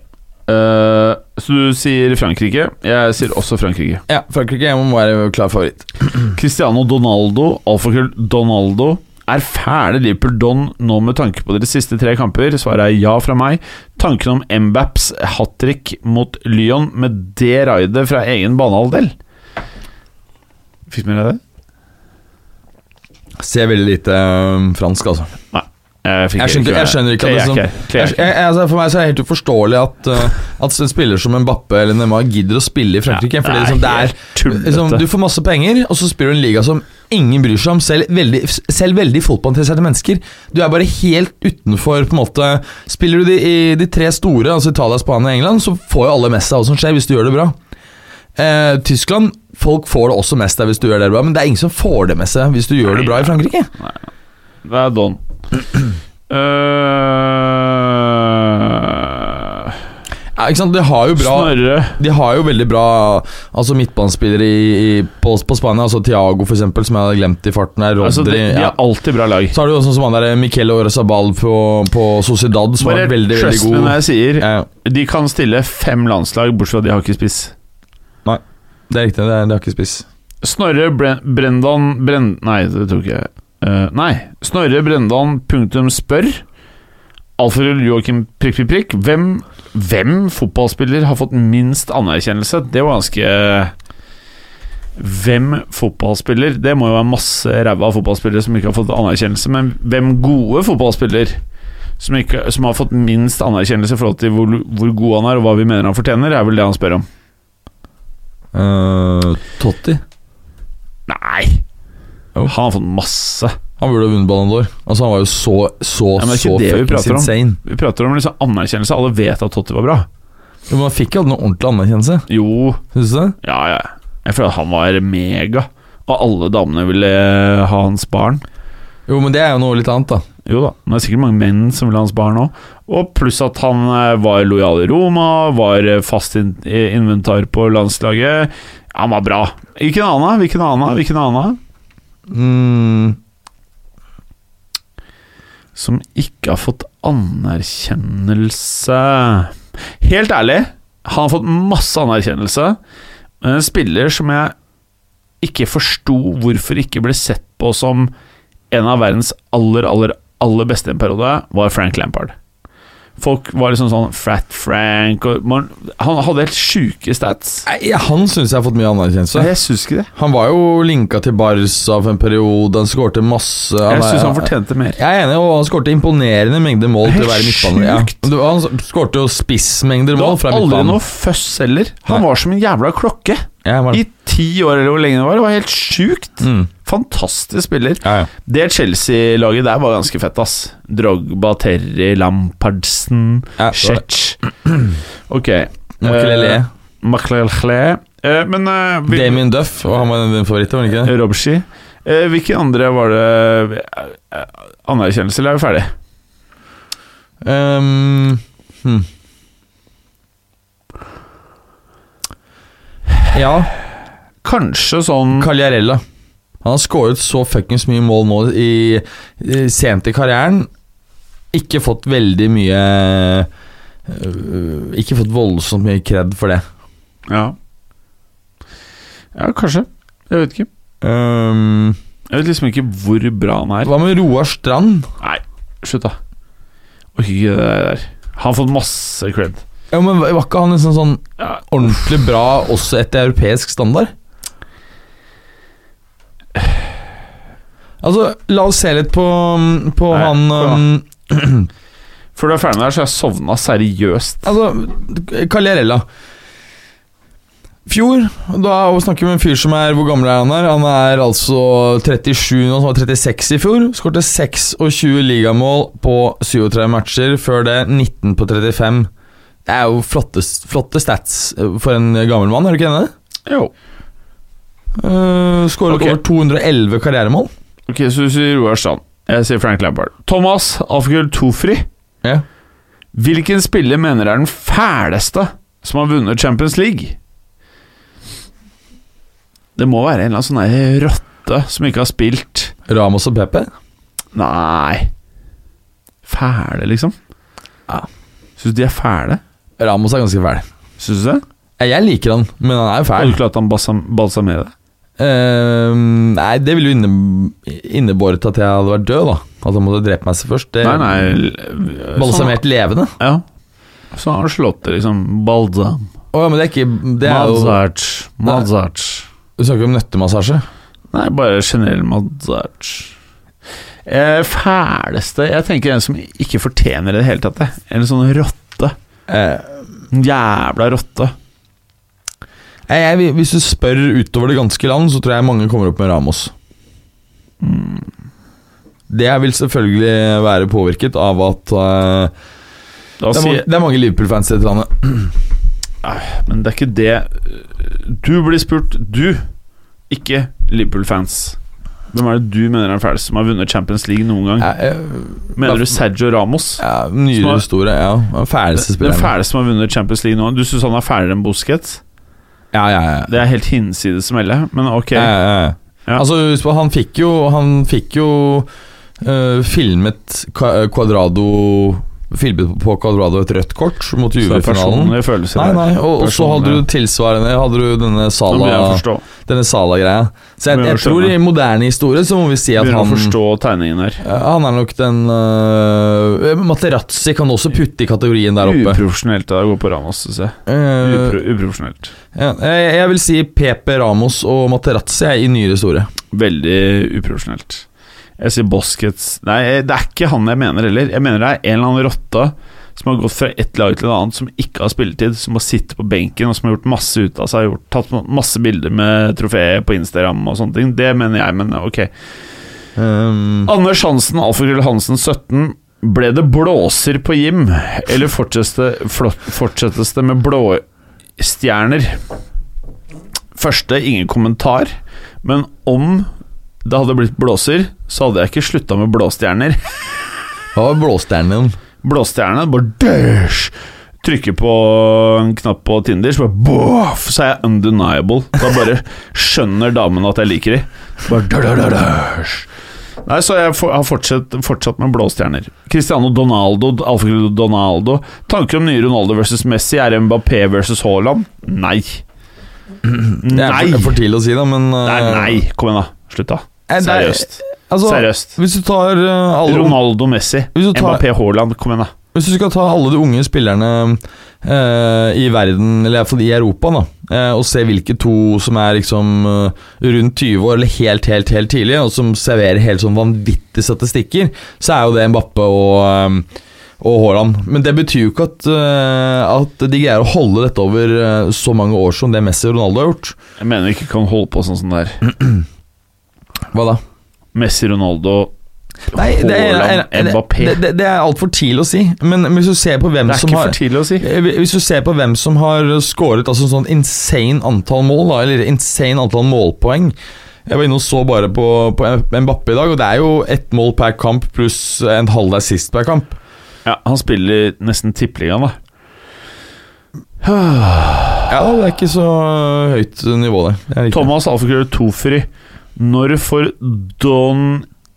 Eh, så du sier Frankrike. Jeg sier også Frankrike.
Ja, Frankrike må være klar favoritt.
Cristiano Donaldo, alfakrøll Donaldo. Er fæle Liverpool-don nå med tanke på deres siste tre kamper? Svaret er ja fra meg. Tanken om Mbaps hat trick mot Lyon med det raidet fra egen banehalvdel Fikk du med deg det?
Ser veldig lite ehm, fransk, altså.
Nei. Jeg, fikk
Jeg skjønner, jeg skjønner ikke at det
det
som, jeg, jeg, jeg, altså, For meg så er det helt uforståelig at, uh, at en spiller som Mbappe eller Neymar gidder å spille i Frankrike.
Ja,
Fordi
det er
liksom, det er,
helt tullete.
liksom, du får masse penger, og så spiller du i en liga som ingen bryr seg om. Selv veldig, selv veldig fotballinteresserte mennesker. Du er bare helt utenfor på en måte Spiller du de, i de tre store, altså Italia, Spania og England, så får jo alle mest av hva som skjer, hvis du gjør det bra. Eh, Tyskland Folk får det også mest av hvis du gjør det bra, men det er ingen som får det med seg hvis du gjør det bra i Frankrike.
Det er Don. Eh,
Ja, ikke sant? Det har jo bra
Snorre.
De har jo veldig bra altså midtbanespillere i, i, på, på Spania. Altså Tiago, for eksempel, som jeg hadde glemt i farten. her Rodri
Altså, de, de
ja.
er alltid bra lag.
Så har du jo sånn som han der Miquel Orazabal på, på Sociedad, som
Bare
er veldig, veldig
trust me
god.
når jeg sier
Ja, ja.
de kan stille fem landslag, bortsett fra de har ikke spiss.
det er riktig, det, er, det har ikke spiss.
Snorre Bre Brendan Bren Nei, det tror ikke jeg. Eh, nei. Snorre Brendan punktum spør. Alfred Joakim prikk, prikk, prikk. Hvem, hvem fotballspiller har fått minst anerkjennelse? Det var ganske eh, Hvem fotballspiller? Det må jo være masse ræva fotballspillere som ikke har fått anerkjennelse, men hvem gode fotballspiller som, ikke, som har fått minst anerkjennelse i forhold til hvor, hvor god han er, og hva vi mener han fortjener, er vel det han spør om.
Eh, Totti.
Nei!
Jo.
Han har fått masse.
Han burde ha vunnet Ballon d'Or. Altså, han var jo så, så,
Ja, men det er
så
ikke det vi
fuckings
prater om.
insane.
Vi prater om liksom anerkjennelse. Alle vet at Totti var bra.
Jo, men han fikk jo aldri noe ordentlig anerkjennelse.
Jo,
Synes du det?
ja, ja. Jeg føler at han var mega. Og alle damene ville eh, ha hans barn.
Jo, men det er jo noe litt annet, da.
Jo da, men det er sikkert mange menn som ville ha hans barn òg. Og pluss at han eh, var lojal i Roma, var eh, fast in i inventar på landslaget. Han var bra. Hvilken annen? Hvilken annen? Hvilken annen?
Mm,
Som ikke har fått anerkjennelse Helt ærlig, han har fått masse anerkjennelse. Men en spiller som jeg ikke forsto hvorfor ikke ble sett på som en av verdens aller, aller, aller beste i en periode, var Frank Lampard. Folk var liksom sånn Frat Frank og man, Han hadde helt sjuke stats.
nei, ja, han syns jeg har fått mye anerkjennelse.
Jeg syns ikke det.
Han var jo linka til Barca for en periode, han skårte masse
Jeg syns han fortjente mer.
Jeg er enig, og han skårte imponerende mengder mål til å være midtbaner. Ja.
Sjukt.
Men det var- Han skårte jo spissmengder
Det
mål
var
fra
aldri
midtbanen.
noe føss heller. Han
Nei.
var som en jævla klokke.
Ja, var det.
I ti år, eller hvor lenge det var. Det var helt sjukt.
Mm.
Fantastisk spiller.
Ja, ja.
Det Chelsea-laget der var ganske fett, ass. Drogba, Terry, Lampardsen,
Ja, det var det.
Cech Ok.
Makelele,
Eh, Makelele. Eh, men eh, hvil-
Damien Duff, og han var din favoritt, var han ikke det?
Robshi. Eh, hvilke andre var det eh, Anerkjennelse, eller er vi ferdig?
Ehm, hm. Ja,
Kanskje sånn
Cagliarella. Han har skåret så fuckings mye mål nå i, i sent i karrieren. Ikke fått veldig mye øh, Ikke fått voldsomt mye kred for det.
Ja. ja, kanskje. Jeg vet ikke.
Ehm,
Jeg vet liksom ikke hvor bra han er.
hva med Roar Strand?
Nei, slutt da Oi, det der Han har fått masse cred
Ja, men Var ikke han liksom sånn
ja.
ordentlig bra også etter europeisk standard? Altså, la oss se litt på, på
Nei,
han
bra.
um,
Før du er ferdig med det her, så har jeg sovna seriøst
Altså, Cagliarella. Fjor, da snakker vi med en fyr som er Hvor gammel er han her? Han er altså 37 nå, som var 36 i fjor. Skårte 26 ligamål på 37 matcher. Før det 19 på 35. Det er jo flotte, flotte stats for en gammel mann, er du ikke enig?
Jo
Uh, Skåret
Ok.
over 211 karrieremål.
Ok, så du sier Roar Strand. Jeg sier Frank Lampard. Thomas Alfgull Tofri.
Ja.
Hvilken spiller mener er den fæleste som har vunnet Champions League? Det må være en eller annen sånn der rotte som ikke har spilt
Ramos og Pepe?
Nei Fæle, liksom?
Ja.
Syns du de er fæle?
Ramos er ganske fæl.
Syns du det?
Ja, Jeg liker han, men han er jo
Har
fæl.
du klart han balsam balsamere det?
Eh, nei, det ville jo inne, innebåret at jeg hadde vært død, da. At han måtte drepe meg så først. Det,
Nei, nei l-
Balsamert levende.
Sånn, ja. Så har han slått det, liksom. Balsam.
Å ja, men det er ikke Det er jo
Mozart. Mozart.
Du snakker om nøttemassasje?
Nei, bare generell Mozart. Eh, fæleste Jeg tenker en som ikke fortjener det i det hele tatt. jeg. En sånn rotte.
Eh,
En Jævla rotte.
jeg, jeg, hvis du spør utover det ganske land, så tror jeg mange kommer opp med Ramos. Det vil selvfølgelig være påvirket av at eh,
Da
det, er mange,
sier,
det er mange Liverpool-fans i dette landet.
men det er ikke det Du blir spurt, du, ikke Liverpool-fans. Hvem er det du mener er den fæleste som har vunnet Champions League noen gang?
Ja, eh,
Mener du Sergio Ramos?
ja, nyere
Som er-
historie. Ja, Den fæleste
Den
spilleren.
fæleste som har vunnet Champions League noen gang? Du syns han er fælere enn Busquets?
Ja, ja, ja.
Det er helt hinsides melde, men ok.
Ja, ja, ja.
Ja.
Altså, husk på, han fikk jo Han fikk jo eh, filmet Ka- eh, Cuadrado Filmet på Cuadrado et rødt kort mot
Så det er
Juve-finalen.
personlige følelser
Nei,
der.
nei, og, og så hadde
Personlige.
du tilsvarende Hadde du
Nå begynner jeg
denne
å
Sala
forstå.
Denne Sala-greia. Så jeg,
Begynner å
jeg tror
skjønne.
i moderne historie så må vi si at
Begynner
han
å forstå tegningen her.
eh, Han er nok den eh, Materazzi kan også putte i kategorien der oppe.
Uprofesjonelt av deg å gå på Ramos, syns jeg.
Eh,
Upro uprofesjonelt.
ja, jeg, jeg vil si Pepe Ramos og Materazzi er i nyere historie.
Veldig uprofesjonelt. Jeg sier Boskets Nei, det er ikke han jeg mener heller. Jeg mener det er en eller annen rotte som har gått fra ett lag til et annet, som ikke har spilletid, som har sittet på benken og som har gjort masse ut av seg, gjort, tatt masse bilder med trofeet på Instagram og sånne ting. Det mener jeg, men ok.
Um,
Anders Hansen, Alfakrøll Hansen 17. Ble det blåser på Jim, eller fortsettes det, flott- fortsettes det med blåstjerner? Første, ingen kommentar, men om det hadde blitt blåser, så hadde jeg ikke slutta med blåstjerner.
hva var blåstjernen din?
Blåstjerne, bare døsj! Trykker på en knapp på Tinder, så bare boff, så er jeg undeniable. Da bare skjønner damene at jeg liker de. Bare dø, dø, dø, døsj. Nei, så jeg for, har fortsatt, fortsatt med blåstjerner. Cristiano Donaldo, Alfakrøll Donaldo. Tanker om nye Ronaldo versus Messi. Er Mbappé versus Haaland? Nei.
Det er
Nei!
for, for tidlig å si, da, men uh,
Nei, nei. Kom igjen, da. Slutt, da.
Eh, det er-
Seriøst.
Altså,
Seriøst.
Hvis du tar uh, alle
Ronaldo, Messi,
Hvis du tar-
Mbappé, Haaland. Kom igjen, da.
Hvis du skal ta alle de unge spillerne eh, i verden, eller iallfall i Europa, da, eh, og se hvilke to som er liksom eh, rundt 20 år, eller helt, helt, helt tidlig, og som serverer helt sånn vanvittige statistikker, så er jo det Mbappe og eh, og Haaland. Men det betyr jo ikke at, eh, at de greier å holde dette over eh, så mange år som det Messi og Ronaldo har gjort.
Jeg mener vi ikke kan holde på sånn som det er.
Hva da?
Messi, Ronaldo,
Nei, det er,
Haaland,
det,
Mbappé.
det, det, det er altfor tidlig å si. Men hvis du ser på hvem
Det er
som
ikke
har Eh,
for tidlig å si.
Hvis du ser på hvem som har skåret altså sånn insane antall mål, da, eller insane antall målpoeng Jeg var inne og så bare på, på Mbappé i dag, og det er jo ett mål per kamp pluss en halv assist per kamp.
Ja, han spiller nesten tippeligaen, da.
Ja, Det er ikke så høyt nivå, det. det. er ikke-
Thomas Alfakrøll Tofri. Når får Don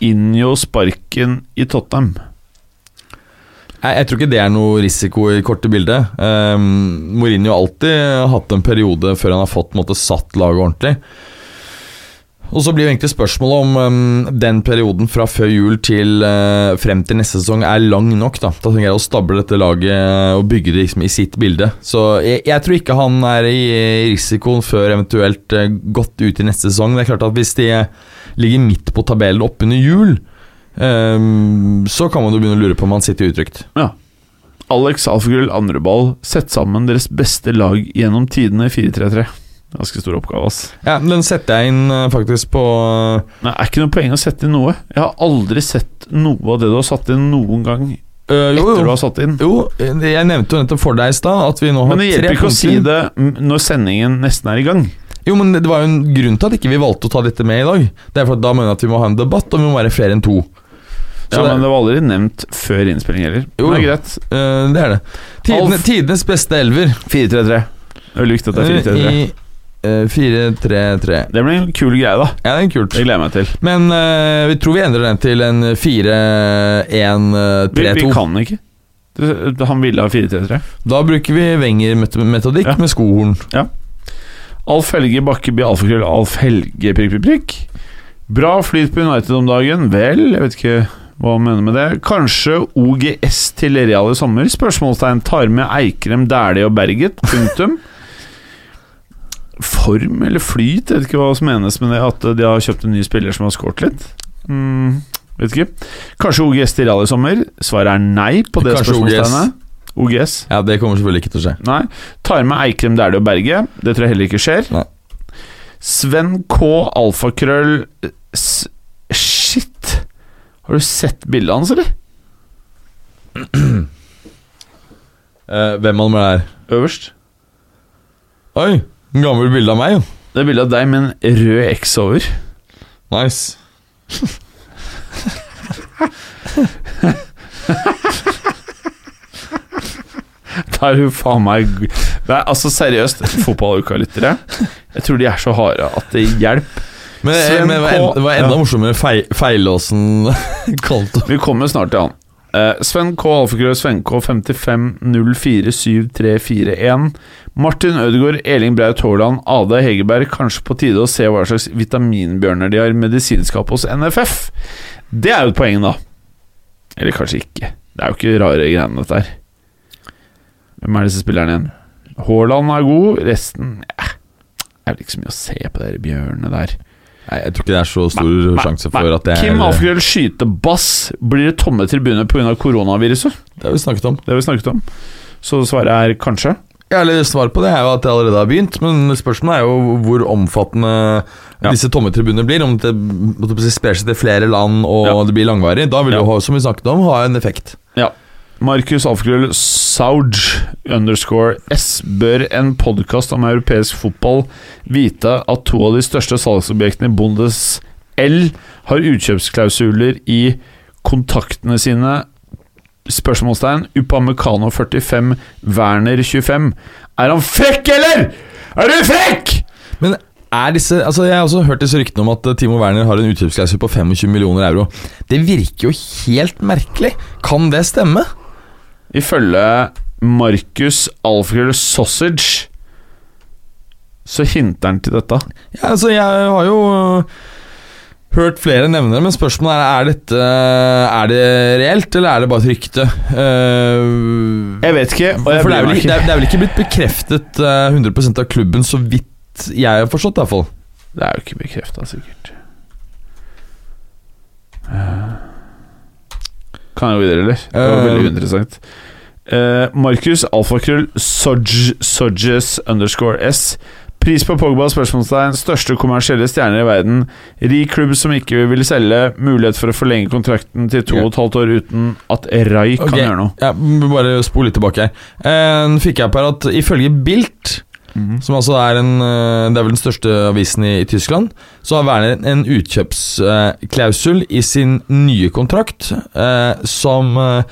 Injo sparken i Tottenham?
Jeg, jeg tror ikke det er noe risiko i korte bildet. Um, Mourinho har alltid hatt en periode før han har fått på en måte, satt laget ordentlig. Og så blir jo egentlig spørsmålet om um, den perioden fra før jul til eh, frem til neste sesong er lang nok. Da Da tenker jeg å stable dette laget og bygge det liksom i sitt bilde. Så jeg, jeg tror ikke han er i risikoen før eventuelt eh, godt ut i neste sesong. Det er klart at Hvis de eh, ligger midt på tabellen oppunder jul, um, så kan man jo begynne å lure på om han sitter utrygt.
Ja. Alex Alfakrøll Andreball. Sett sammen deres beste lag gjennom tidene i 4-3-3. Ganske stor oppgave, ass.
Ja, men Den setter jeg inn eh, faktisk på
Nei, er ikke noe poeng å sette inn noe. Jeg har aldri sett noe av det du har satt inn noen gang
eh,
etter
jo,
du
jo.
har satt inn.
jo, eh, jeg nevnte jo nettopp for deg i stad at vi nå har
Men det hjelper ikke å si
punkter.
det mm, når sendingen nesten er i gang.
Jo, men det var jo en grunn til at ikke vi valgte å ta dette med i dag. Det er for at Da mener jeg at vi må ha en debatt, og vi må være flere enn to. Så
Ja,
det-
men det var aldri nevnt før innspilling heller. Men
Jo,
det er
jo.
greit.
Eh, det er det. Tidene,
Alf.
tidenes beste elver.
4-3-3. Det er Likt at det er 4-3-3.
I eh, 4-3-3.
Det blir en kul greie, da.
Ja, det er kult.
Det gleder jeg meg til.
Men eh, vi tror vi endrer den til en eh, 4-1-3-2.
Vi, vi kan ikke. Du- Han ville ha 4-3-3.
Da bruker vi Wenger-metodikk
Ja.
med skohorn.
Alf Helge Bakkeby, alfakrøll, Alf Helge, prikk, prikk, prikk. Bra flyt på United om dagen. Vel, jeg vet ikke hva han mener med det. Kanskje OGS til Real i sommer? Spørsmålstegn. Tar med Eikrem, Dæhlie og Berget. Punktum. Form eller flyt? Jeg vet ikke hva som menes med det. At de har kjøpt en ny spiller som har skåret litt. Mm, vet ikke. Kanskje OGS til Real i sommer? Svaret er nei på det
Kanskje OGS.
spørsmålstegnet. OGS.
Ja, Det kommer selvfølgelig ikke til å skje.
Nei. Tar med Eikrem Dæhlie og Berge. Det tror jeg heller ikke skjer.
Nei.
Sven K. Alfakrøll eh, s Shit! Har du sett bildet hans, eller?
Eh, hvem han er her?
Øverst.
Oi! en Gammel bilde av meg, jo.
Det er bilde av deg med en rød X over.
Nice.
Da er du faen meg g- Nei, altså seriøst, fotballuka-lyttere. Jeg tror de er så harde at det hjelper.
Men, eh,
Sven
men det, var en,
K.
det var enda
Ja.
morsommere fei, feilåsen kalte
Vi kommer snart til han. Eh, Sven K. Alfakrøll, Sven K. 55047341. Martin Ødegaard, Eling Braut Haaland, Ada Hegerberg. Kanskje på tide å se hva slags vitaminbjørner de har i medisinskapet hos NFF. Det er jo et poeng, da. Eller kanskje ikke. Det er jo ikke rare greiene, dette her. Hvem er disse spillerne igjen? Haaland er god, resten eh, er vel ikke så mye å se på de bjørnene der.
Nei, jeg tror ikke det er så stor sjanse for at det er
Kim Alfakrøll skyter bass. Blir det tomme tribuner pga. koronaviruset?
Det har vi snakket om.
Det har vi snakket om. Så svaret er kanskje.
Ja, eller Svaret på det er jo at det allerede har begynt, men spørsmålet er jo hvor omfattende disse tomme tribunene blir. Om det måtte jeg si, sprer seg til flere land og
Ja.
det blir langvarig. Da vil det
Ja.
jo, ha- som vi snakket om, ha en effekt.
Ja. Markus Alfakrøll Sauge underscore S. Bør en podkast om europeisk fotball vite at to av de største salgsobjektene i Bundes L har utkjøpsklausuler i kontaktene sine? Spørsmålstegn. Upamecano 45, Werner 25. Er han frekk, eller?! Er du frekk?!
Men er disse Altså, jeg har også hørt disse ryktene om at eh, Timo Werner har en utkjøpsklausul på 25 millioner euro. Det virker jo helt merkelig. Kan det stemme?
Ifølge Markus Alfred Sausage så hinter han til dette.
Ja, altså, jeg har jo øh, hørt flere nevne det, men spørsmålet er er dette øh, Er det reelt, eller er det bare et rykte? Eh,
Jeg vet ikke, og jeg
for det er, vel,
bryr meg
ikke- det, er, det er vel ikke blitt bekreftet eh, 100 av klubben, så vidt jeg har forstått, i hvert fall.
Det er jo ikke bekrefta, sikkert. Eh, Kan jeg gå videre, eller? Det var
Eh,
veldig interessant. Eh, Markus Alfakrøll Sodge- Sodges underscore S. Pris på Pogba? spørsmålstegn Største kommersielle stjerner i verden. Rik klubb som ikke vil selge. Mulighet for å forlenge kontrakten til to og et halvt år uten at Rai kan
Ok.
gjøre noe.
Ja, vi bare spol litt tilbake her. Eh, Nå fikk jeg opp her at ifølge Bilt, som altså er en, eh, det er vel den største avisen i, i Tyskland, så har Werner en utkjøpsklausul eh, i sin nye kontrakt eh, som eh,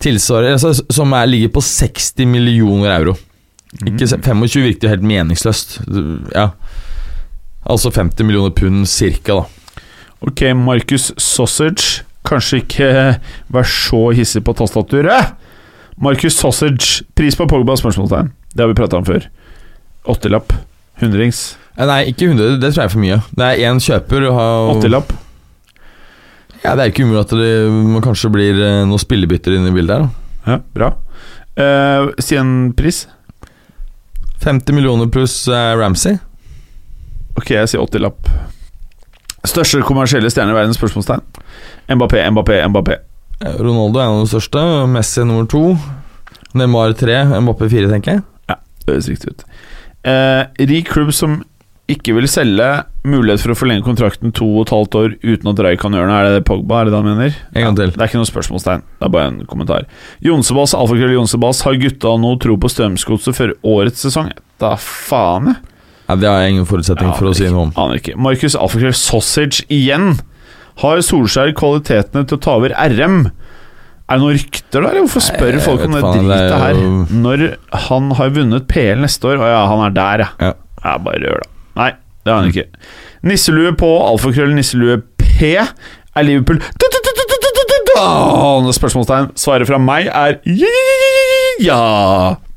tilsvarer altså, Som er, ligger på 60 millioner euro. Ikke se- 25 virket jo helt meningsløst. Ja. Altså 50 millioner pund cirka, da.
Ok, Markus Sausage. Kanskje ikke vær så hissig på tastaturet. Markus Sausage. Pris på Pogba? spørsmålstegn Det har vi prata om før. Åttelapp. Hundrings.
Eh, Nei, ikke 100, det tror jeg er for mye. Det er én kjøper. og har-
Åttelapp.
Ja, Det er ikke umulig at det man kanskje blir eh, noen spillebytter inne i bildet her. da.
Ja, bra. Eh, si en pris.
50 millioner pluss eh, Ramsey.
Ok, jeg sier åttelapp. Største kommersielle stjerne i verden? spørsmålstegn Mbappé, Mbappé, Mbappé.
Eh, Ronaldo er en av de største. Messi nummer to. Neymar tre. Mbappé fire, tenker jeg.
Det høres riktig ut. Eh, rik klubb som ikke vil selge. Mulighet for å forlenge kontrakten to og et halvt år uten at Rai kan gjøre noe. Er det Pogba? Er det det han mener?
En gang til.
Det er ikke noe spørsmålstegn. Det er bare en kommentar. Jonsebass, alfakrøll Jonsebass, har gutta nå tro på Strømsgodset før årets sesong? Da faen, jeg.
Nei, Nei, det har jeg ingen forutsetning for å si noe om.
Aner ikke. Markus Alfakrøll Sausage igjen. Har Solskjær kvalitetene til å ta over RM? Er det noen rykter der? eller Hvorfor spør
jeg
folk om
vet
det
faen, det er
dritet her?
jo-
Når han har vunnet PL neste år Å ja, han er der, ja.
Ja.
ja bare gjør det. Nei, det har han ikke. Nisselue på alfakrøll nisselue P er Liverpool Da! Spørsmålstegn. Svaret fra meg er ja.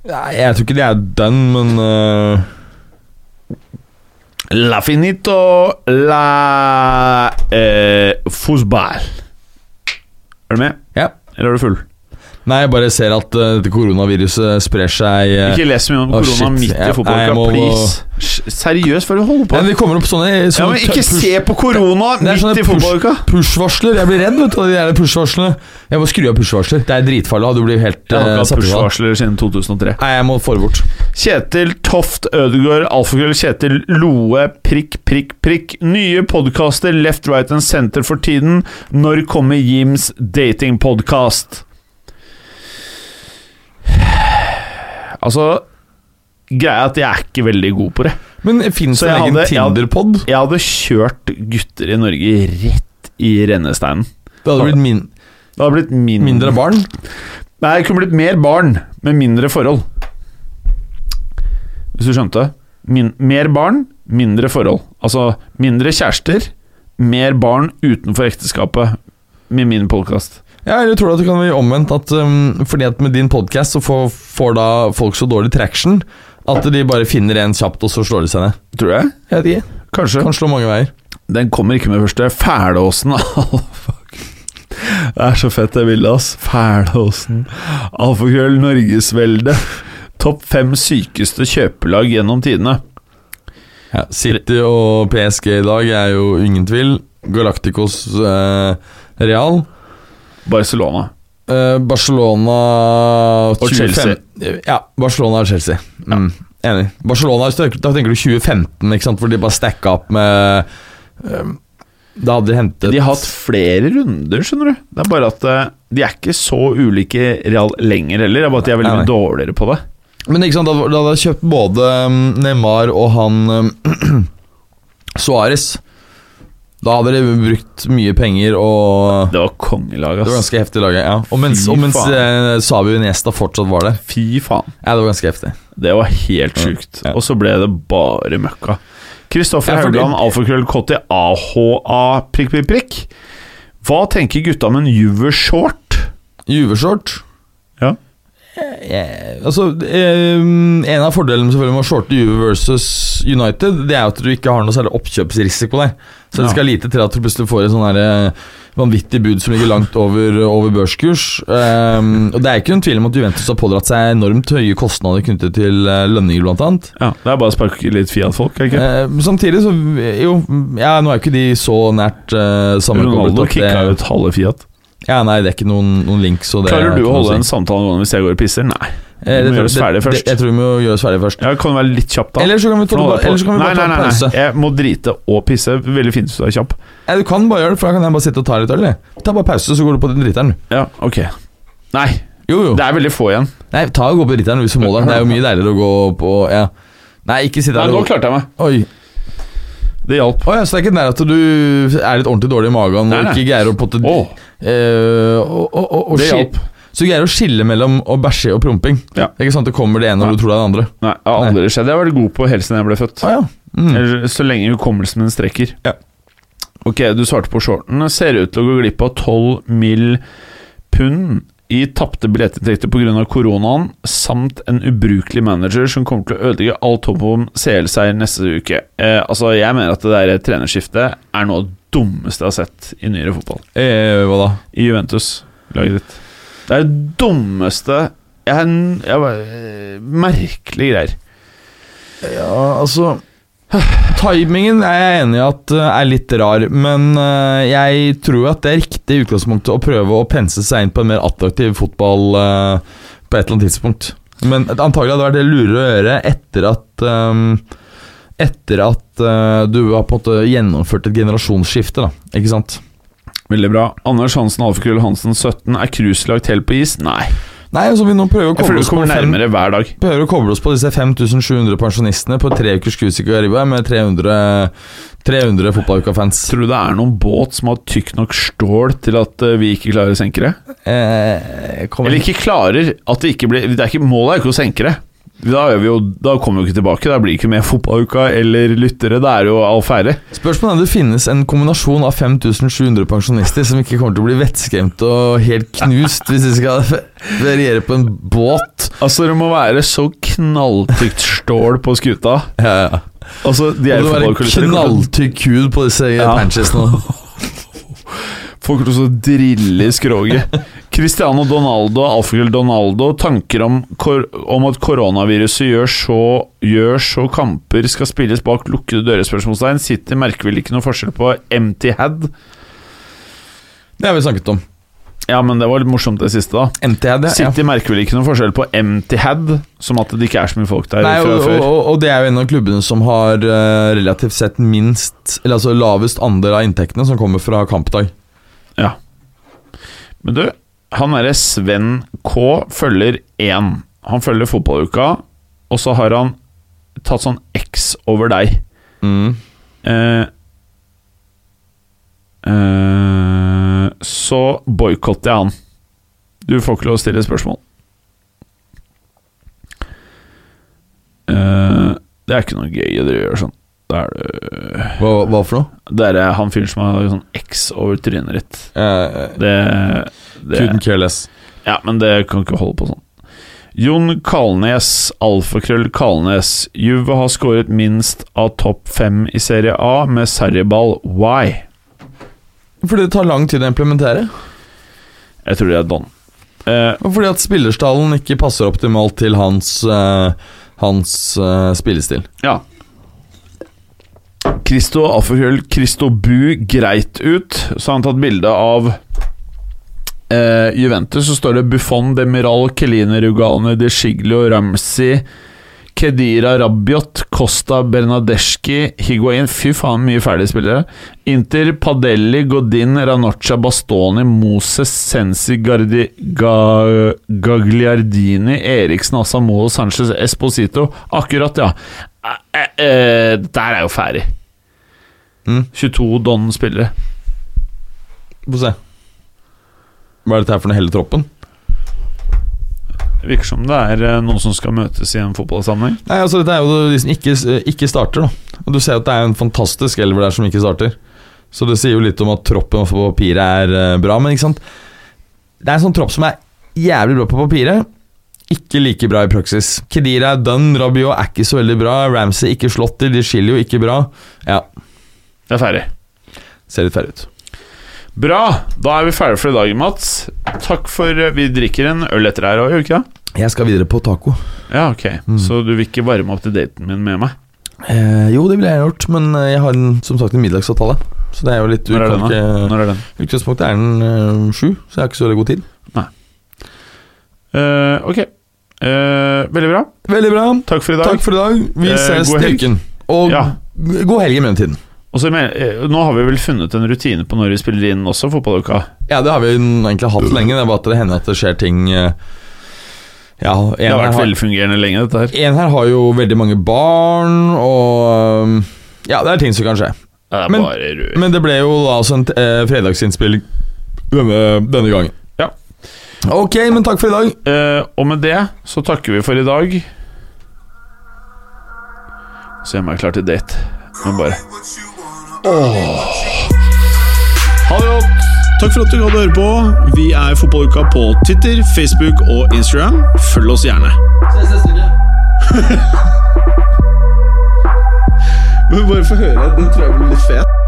Nei, jeg tror ikke det er den, men eh,
La finito la eh, fotball. Er du med,
Ja.
eller er du full?
Eh. Nei, jeg bare ser at eh, dette koronaviruset sprer seg eh,
Ikke les så mye om
Å,
korona
shit.
midt i
Ja, jeg
fotballkamp,
må-
please. Sj- Seriøst, hva er det du holder på
Nei,
med?
det kommer opp sånne,
Ja,
sånne
men ikke
sånn push-
se på korona
Det er
midt
sånne
i fotballuka!
push- push-varsler. jeg blir redd vet du, av de der push-varslene. Jeg må skru av push-varsler. Det er dritfarlig. Du blir helt
Jeg har
eh,
ikke hatt
satt ut av det.
push-varsler siden 2003.
Nei, jeg må få det bort.
Kjetil Toft Ødegaard, alfakrøll Kjetil Loe, prikk, prikk, prikk. Nye podkaster, Left, Right and Center for tiden. Når kommer Jims datingpodkast? Altså Greia er at jeg er ikke veldig god på det.
Men fins
Så
det
jeg
en egen
hadde- jeg hadde-
Tinder-pod?
Jeg hadde kjørt gutter i Norge rett i rennesteinen.
Det hadde blitt min
Det hadde blitt min
mindre barn.
Nei, det kunne blitt mer barn med mindre forhold. Hvis du skjønte? Min, mer barn, mindre forhold. Altså mindre kjærester, mer barn utenfor ekteskapet med min podkast.
Ja, eller tror du at det kan bli omvendt? At, um, fordi at med din podkast så får, får da folk så dårlig traction at de bare finner en kjapt, og så slår de seg ned.
Tror jeg.
Jeg vet ikke.
Kanskje.
Kan slå mange veier.
Den kommer ikke med det første. Fælåsen. Au, fuck. Det er så fett det bildet, ass. Fælåsen. Alfakrøll Norgesvelde. Topp fem sykeste kjøpelag gjennom tidene.
Ja, City og PSG i dag er jo ingen tvil. Galacticos eh, Real.
Barcelona.
Eh, Barcelona
Og Chelsea.
Ja, Barcelona og Chelsea. Mm, Enig. Barcelona, hvis du- Da tenker du 2015, ikke sant? hvor de bare stacka opp med eh, Da hadde de hentet
De har hatt flere runder, skjønner du. Det er bare at eh, de er ikke så ulike real lenger heller. Det er bare at de er veldig
Nei,
mye
nei.
dårligere på det.
Men ikke sant, da, da hadde jeg kjøpt både mm, Neymar og han mm, Suarez. Da hadde de brukt mye penger og
Det var kongelag,
Det var
ass.
ganske heftig laget, ja. Og mens,
Fy
og mens
faen.
eh, Sabi Iniesta fortsatt var der.
Fy faen.
Ja, det var ganske heftig.
Det var helt sjukt.
Ja.
Og så ble det bare møkka. Kristoffer
Ja, fordi-
Haugland, alfakrøll, KT, AHA, prikk, prikk, prikk. Hva tenker gutta om en Juve-short?
Juveshort
Ja.
eh, Altså, eh, en av fordelene selvfølgelig med å shorte Juve versus United, det er jo at du ikke har noe særlig oppkjøpsrisiko der. Så det
Ja.
skal lite til at du plutselig får et sånn her eh, vanvittig bud som ligger langt over, over børskurs. Eh, og det er ikke noen tvil om at Juventus har pådratt seg enormt høye kostnader knyttet til eh, lønninger, blant annet.
ja. Det er bare å sparke litt Fiat-folk, er det ikke?
Eh, samtidig så Jo, ja, nå er jo ikke de så nært eh, sammenkoblet.
Ronaldo
at
kicka
det-
ut halve Fiat.
Ja, nei, det er ikke noen, noen link, så det
Klarer
er
du
ikke
å
noe
holde
si.
en samtale gående hvis jeg går og pisser? Nei. Vi må
Eh, det-
gjøre oss
det-
ferdig
det-
først.
Jeg tror vi må gjøre oss ferdig først.
Ja, kan du være litt kjapp, da?
Eller så kan vi ta,
For nå holder jeg på.
eller så kan vi
nei,
bare ta
nei,
en
nei,
pause.
nei. Jeg må drite og pisse. Veldig fint hvis du er kjapp.
Ja, du kan bare gjøre det, for da kan jeg bare sitte og ta litt øl. jeg. Ta bare pause, så går du på den driteren.
Ja, ok Nei,
Jo, jo.
det er veldig få igjen.
Nei, ta og gå på driteren hvis du må det. Det er jo mye deiligere å gå på Ja. Nei, ikke sitt
Nei,
der
Nå
og
klarte jeg meg.
Oi.
Det hjalp.
Å ja, så det er ikke nær at du er litt ordentlig dårlig i magen
Nei,
og
nei.
ikke greier å på en
Åh.
måte eh, og- og- og- og
Det
skil-
hjalp.
Så du greier å skille mellom å bæsje og promping.
Ja.
Det er ikke sant, det kommer det ene
Nei.
og du tror det er det andre.
Nei, det har aldri skjedd. Jeg var god på helt siden jeg ble født.
Å ja. Mm.
Eller Så lenge hukommelsen min strekker.
Ja.
Ok, du svarte på shorten. Ser ut til å gå glipp av 12 mill. pund i tapte billettinntekter pga. koronaen, samt en ubrukelig manager som kommer til å ødelegge alt håp om CL-seier neste uke. Eh, altså, jeg mener at det der trenerskiftet er noe av det dummeste jeg har sett i nyere fotball.
Eh, hva da?
I Juventus, laget ditt. Det er det dummeste jeg, jeg, bare- eh, Merkelige greier.
Ja, altså Timingen er jeg enig i at eh, er litt rar, men eh, jeg tror at det er riktig i utgangspunktet å prøve å pense seg inn på en mer attraktiv fotball eh, på et eller annet tidspunkt. Men antagelig hadde det vært lurere å gjøre etter at eh, Etter at eh, du har på en måte gjennomført et generasjonsskifte, da. Ikke sant?
Veldig bra. Anders Hansen, Alfakrøll Hansen 17. Er cruiselagt helt på is? Nei.
Nei, altså vi nå prøver å
Jeg
koble
føler
oss
du
på
kommer
fem-
nærmere hver dag.
Prøver å koble oss på disse 5700 pensjonistene på tre ukers cruise i Caribbia med 300, 300 fotballuka-fans.
Tror du det er noen båt som har tykk nok stål til at eh, vi ikke klarer å senke det?
Eh, kommer-
Eller ikke klarer at det ikke blir det er ikke, Målet er jo ikke å senke det. Da, er vi jo, da kommer vi jo ikke tilbake. Da blir det ikke mer fotballuka eller lyttere. Da er det jo all fære.
Spørsmålet er om det finnes en kombinasjon av 5700 pensjonister som ikke kommer til å bli vettskremt og helt knust hvis de skal feriere på en båt.
Altså, det må være så knalltykt stål på skuta.
Ja, ja.
Altså, de
Det
er
må
jo
være
fotballkulisser.
knalltykk hud på disse
Ja.
panchesene.
Folk kommer til å drille i skroget. Cristiano Donaldo, alfakrøll Donaldo, tanker om, kor om at koronaviruset gjør så, gjør så kamper skal spilles bak lukkede dører? Spørsmålstegn. City merker vel ikke noe forskjell på empty had?
Det har vi snakket om.
Ja, men det var litt morsomt, det siste, da.
NTD, ja.
City merker vel ikke noe forskjell på empty had, som at det ikke er så mye folk der
Nei,
fra
og,
før?
og, og det er jo en av klubbene som har eh, relativt sett minst Eller altså lavest andel av inntektene som kommer fra kampdag.
Ja. Men du, han derre Sven K følger én. Han følger fotballuka, og så har han tatt sånn X over deg.
Mm.
Eh, eh, så boikotter jeg han. Du får ikke lov å stille spørsmål. Eh, det er ikke noe gøy å gjøre sånn. Da er det
Hva, hva for noe?
Det er han fyren som har sånn X over trynet ditt.
Eh,
Det, det
couldn't care less.
Ja, men det kan ikke holde på sånn. Jon Kalnes, alfakrøll Kalnes. Juve har skåret minst av topp fem i Serie A med Sarriball. Why?
Fordi det tar lang tid å implementere.
Jeg tror det er Don. Eh,
Og fordi at spillerstallen ikke passer optimalt til hans, eh, hans eh, spillestil.
ja. Christo alfakrøll Christo Bu greit ut, så har han tatt bilde av eh, Juventus. Så står det Buffon, Demiral, Keline Rugane, De Sciglio, Ramsey Kedira Rabiot, Costa Bernadeschi, Higuain Fy faen, mye ferdige spillere. Inter, Padelli, Godin, Ranoccia, Bastoni, Moses, Sensi, Gardi, Ga, Gagliardini, Eriksen, Asamoah, Sanchez, Esposito. Akkurat, ja. Eh, eh, eh, Dette her er jo ferdig.
Mm.
22 Don-spillere.
Få se. Hva er dette her for noe hele troppen?
Virker som det er eh, noen som skal møtes i en fotballsammenheng.
Nei, altså Dette er jo de som ikke, ikke starter. da Og Du ser at det er en fantastisk elver der som ikke starter. Så det sier jo litt om at troppen på papiret er eh, bra, men ikke sant Det er en sånn tropp som er jævlig bra på papiret, ikke like bra i praksis. Kedira er done, Rabiot er ikke så veldig bra, Ramsey ikke slått til, de skiller jo ikke bra. Ja,
Det er ferdig.
ser litt ferdig ut.
Bra! Da er vi ferdige for i dag, Mats. Takk for eh, Vi drikker en øl etter her òg, gjør vi ikke det?
Jeg skal videre på taco.
Ja, ok.
Mm.
Så du vil ikke varme opp til daten min med meg?
Eh, jo, det ville jeg gjort, men eh, jeg har en, som sagt en middagsavtale. Så det er jo litt
Når er den, da?
utgangspunktet-
Når er den?
Utgangspunktet er den eh, sju, så jeg har ikke så veldig god tid.
Eh, ok. Eh, veldig bra.
Veldig bra.
Takk for i dag.
Takk for i dag. Vi
Eh,
ses
god
til
helg.
uken. Og
Ja.
god helg i mellomtiden.
Og så men- eh, nå har vi vel funnet en rutine på når vi spiller inn også, fotballuka.
Ja, det har vi jo egentlig hatt lenge. Det er bare at det hender at det skjer ting eh, Ja, en
Det har
her
vært
har,
velfungerende lenge, dette her.
en her har jo veldig mange barn, og eh, Ja, det er ting som kan skje.
Det er
Men-
bare rør.
Men det ble jo da altså en eh, fredagsinnspilling denne, denne gangen.
Ja.
Ok, men takk for i dag.
Eh, og med det så takker vi for i dag. Så gjør jeg meg klar til date. Men bare Ha det godt!
Takk for at du hadde høre på. Vi er Fotballuka på Twitter, Facebook og Instagram. Følg oss gjerne. Men bare få høre. Den tror jeg blir litt fet.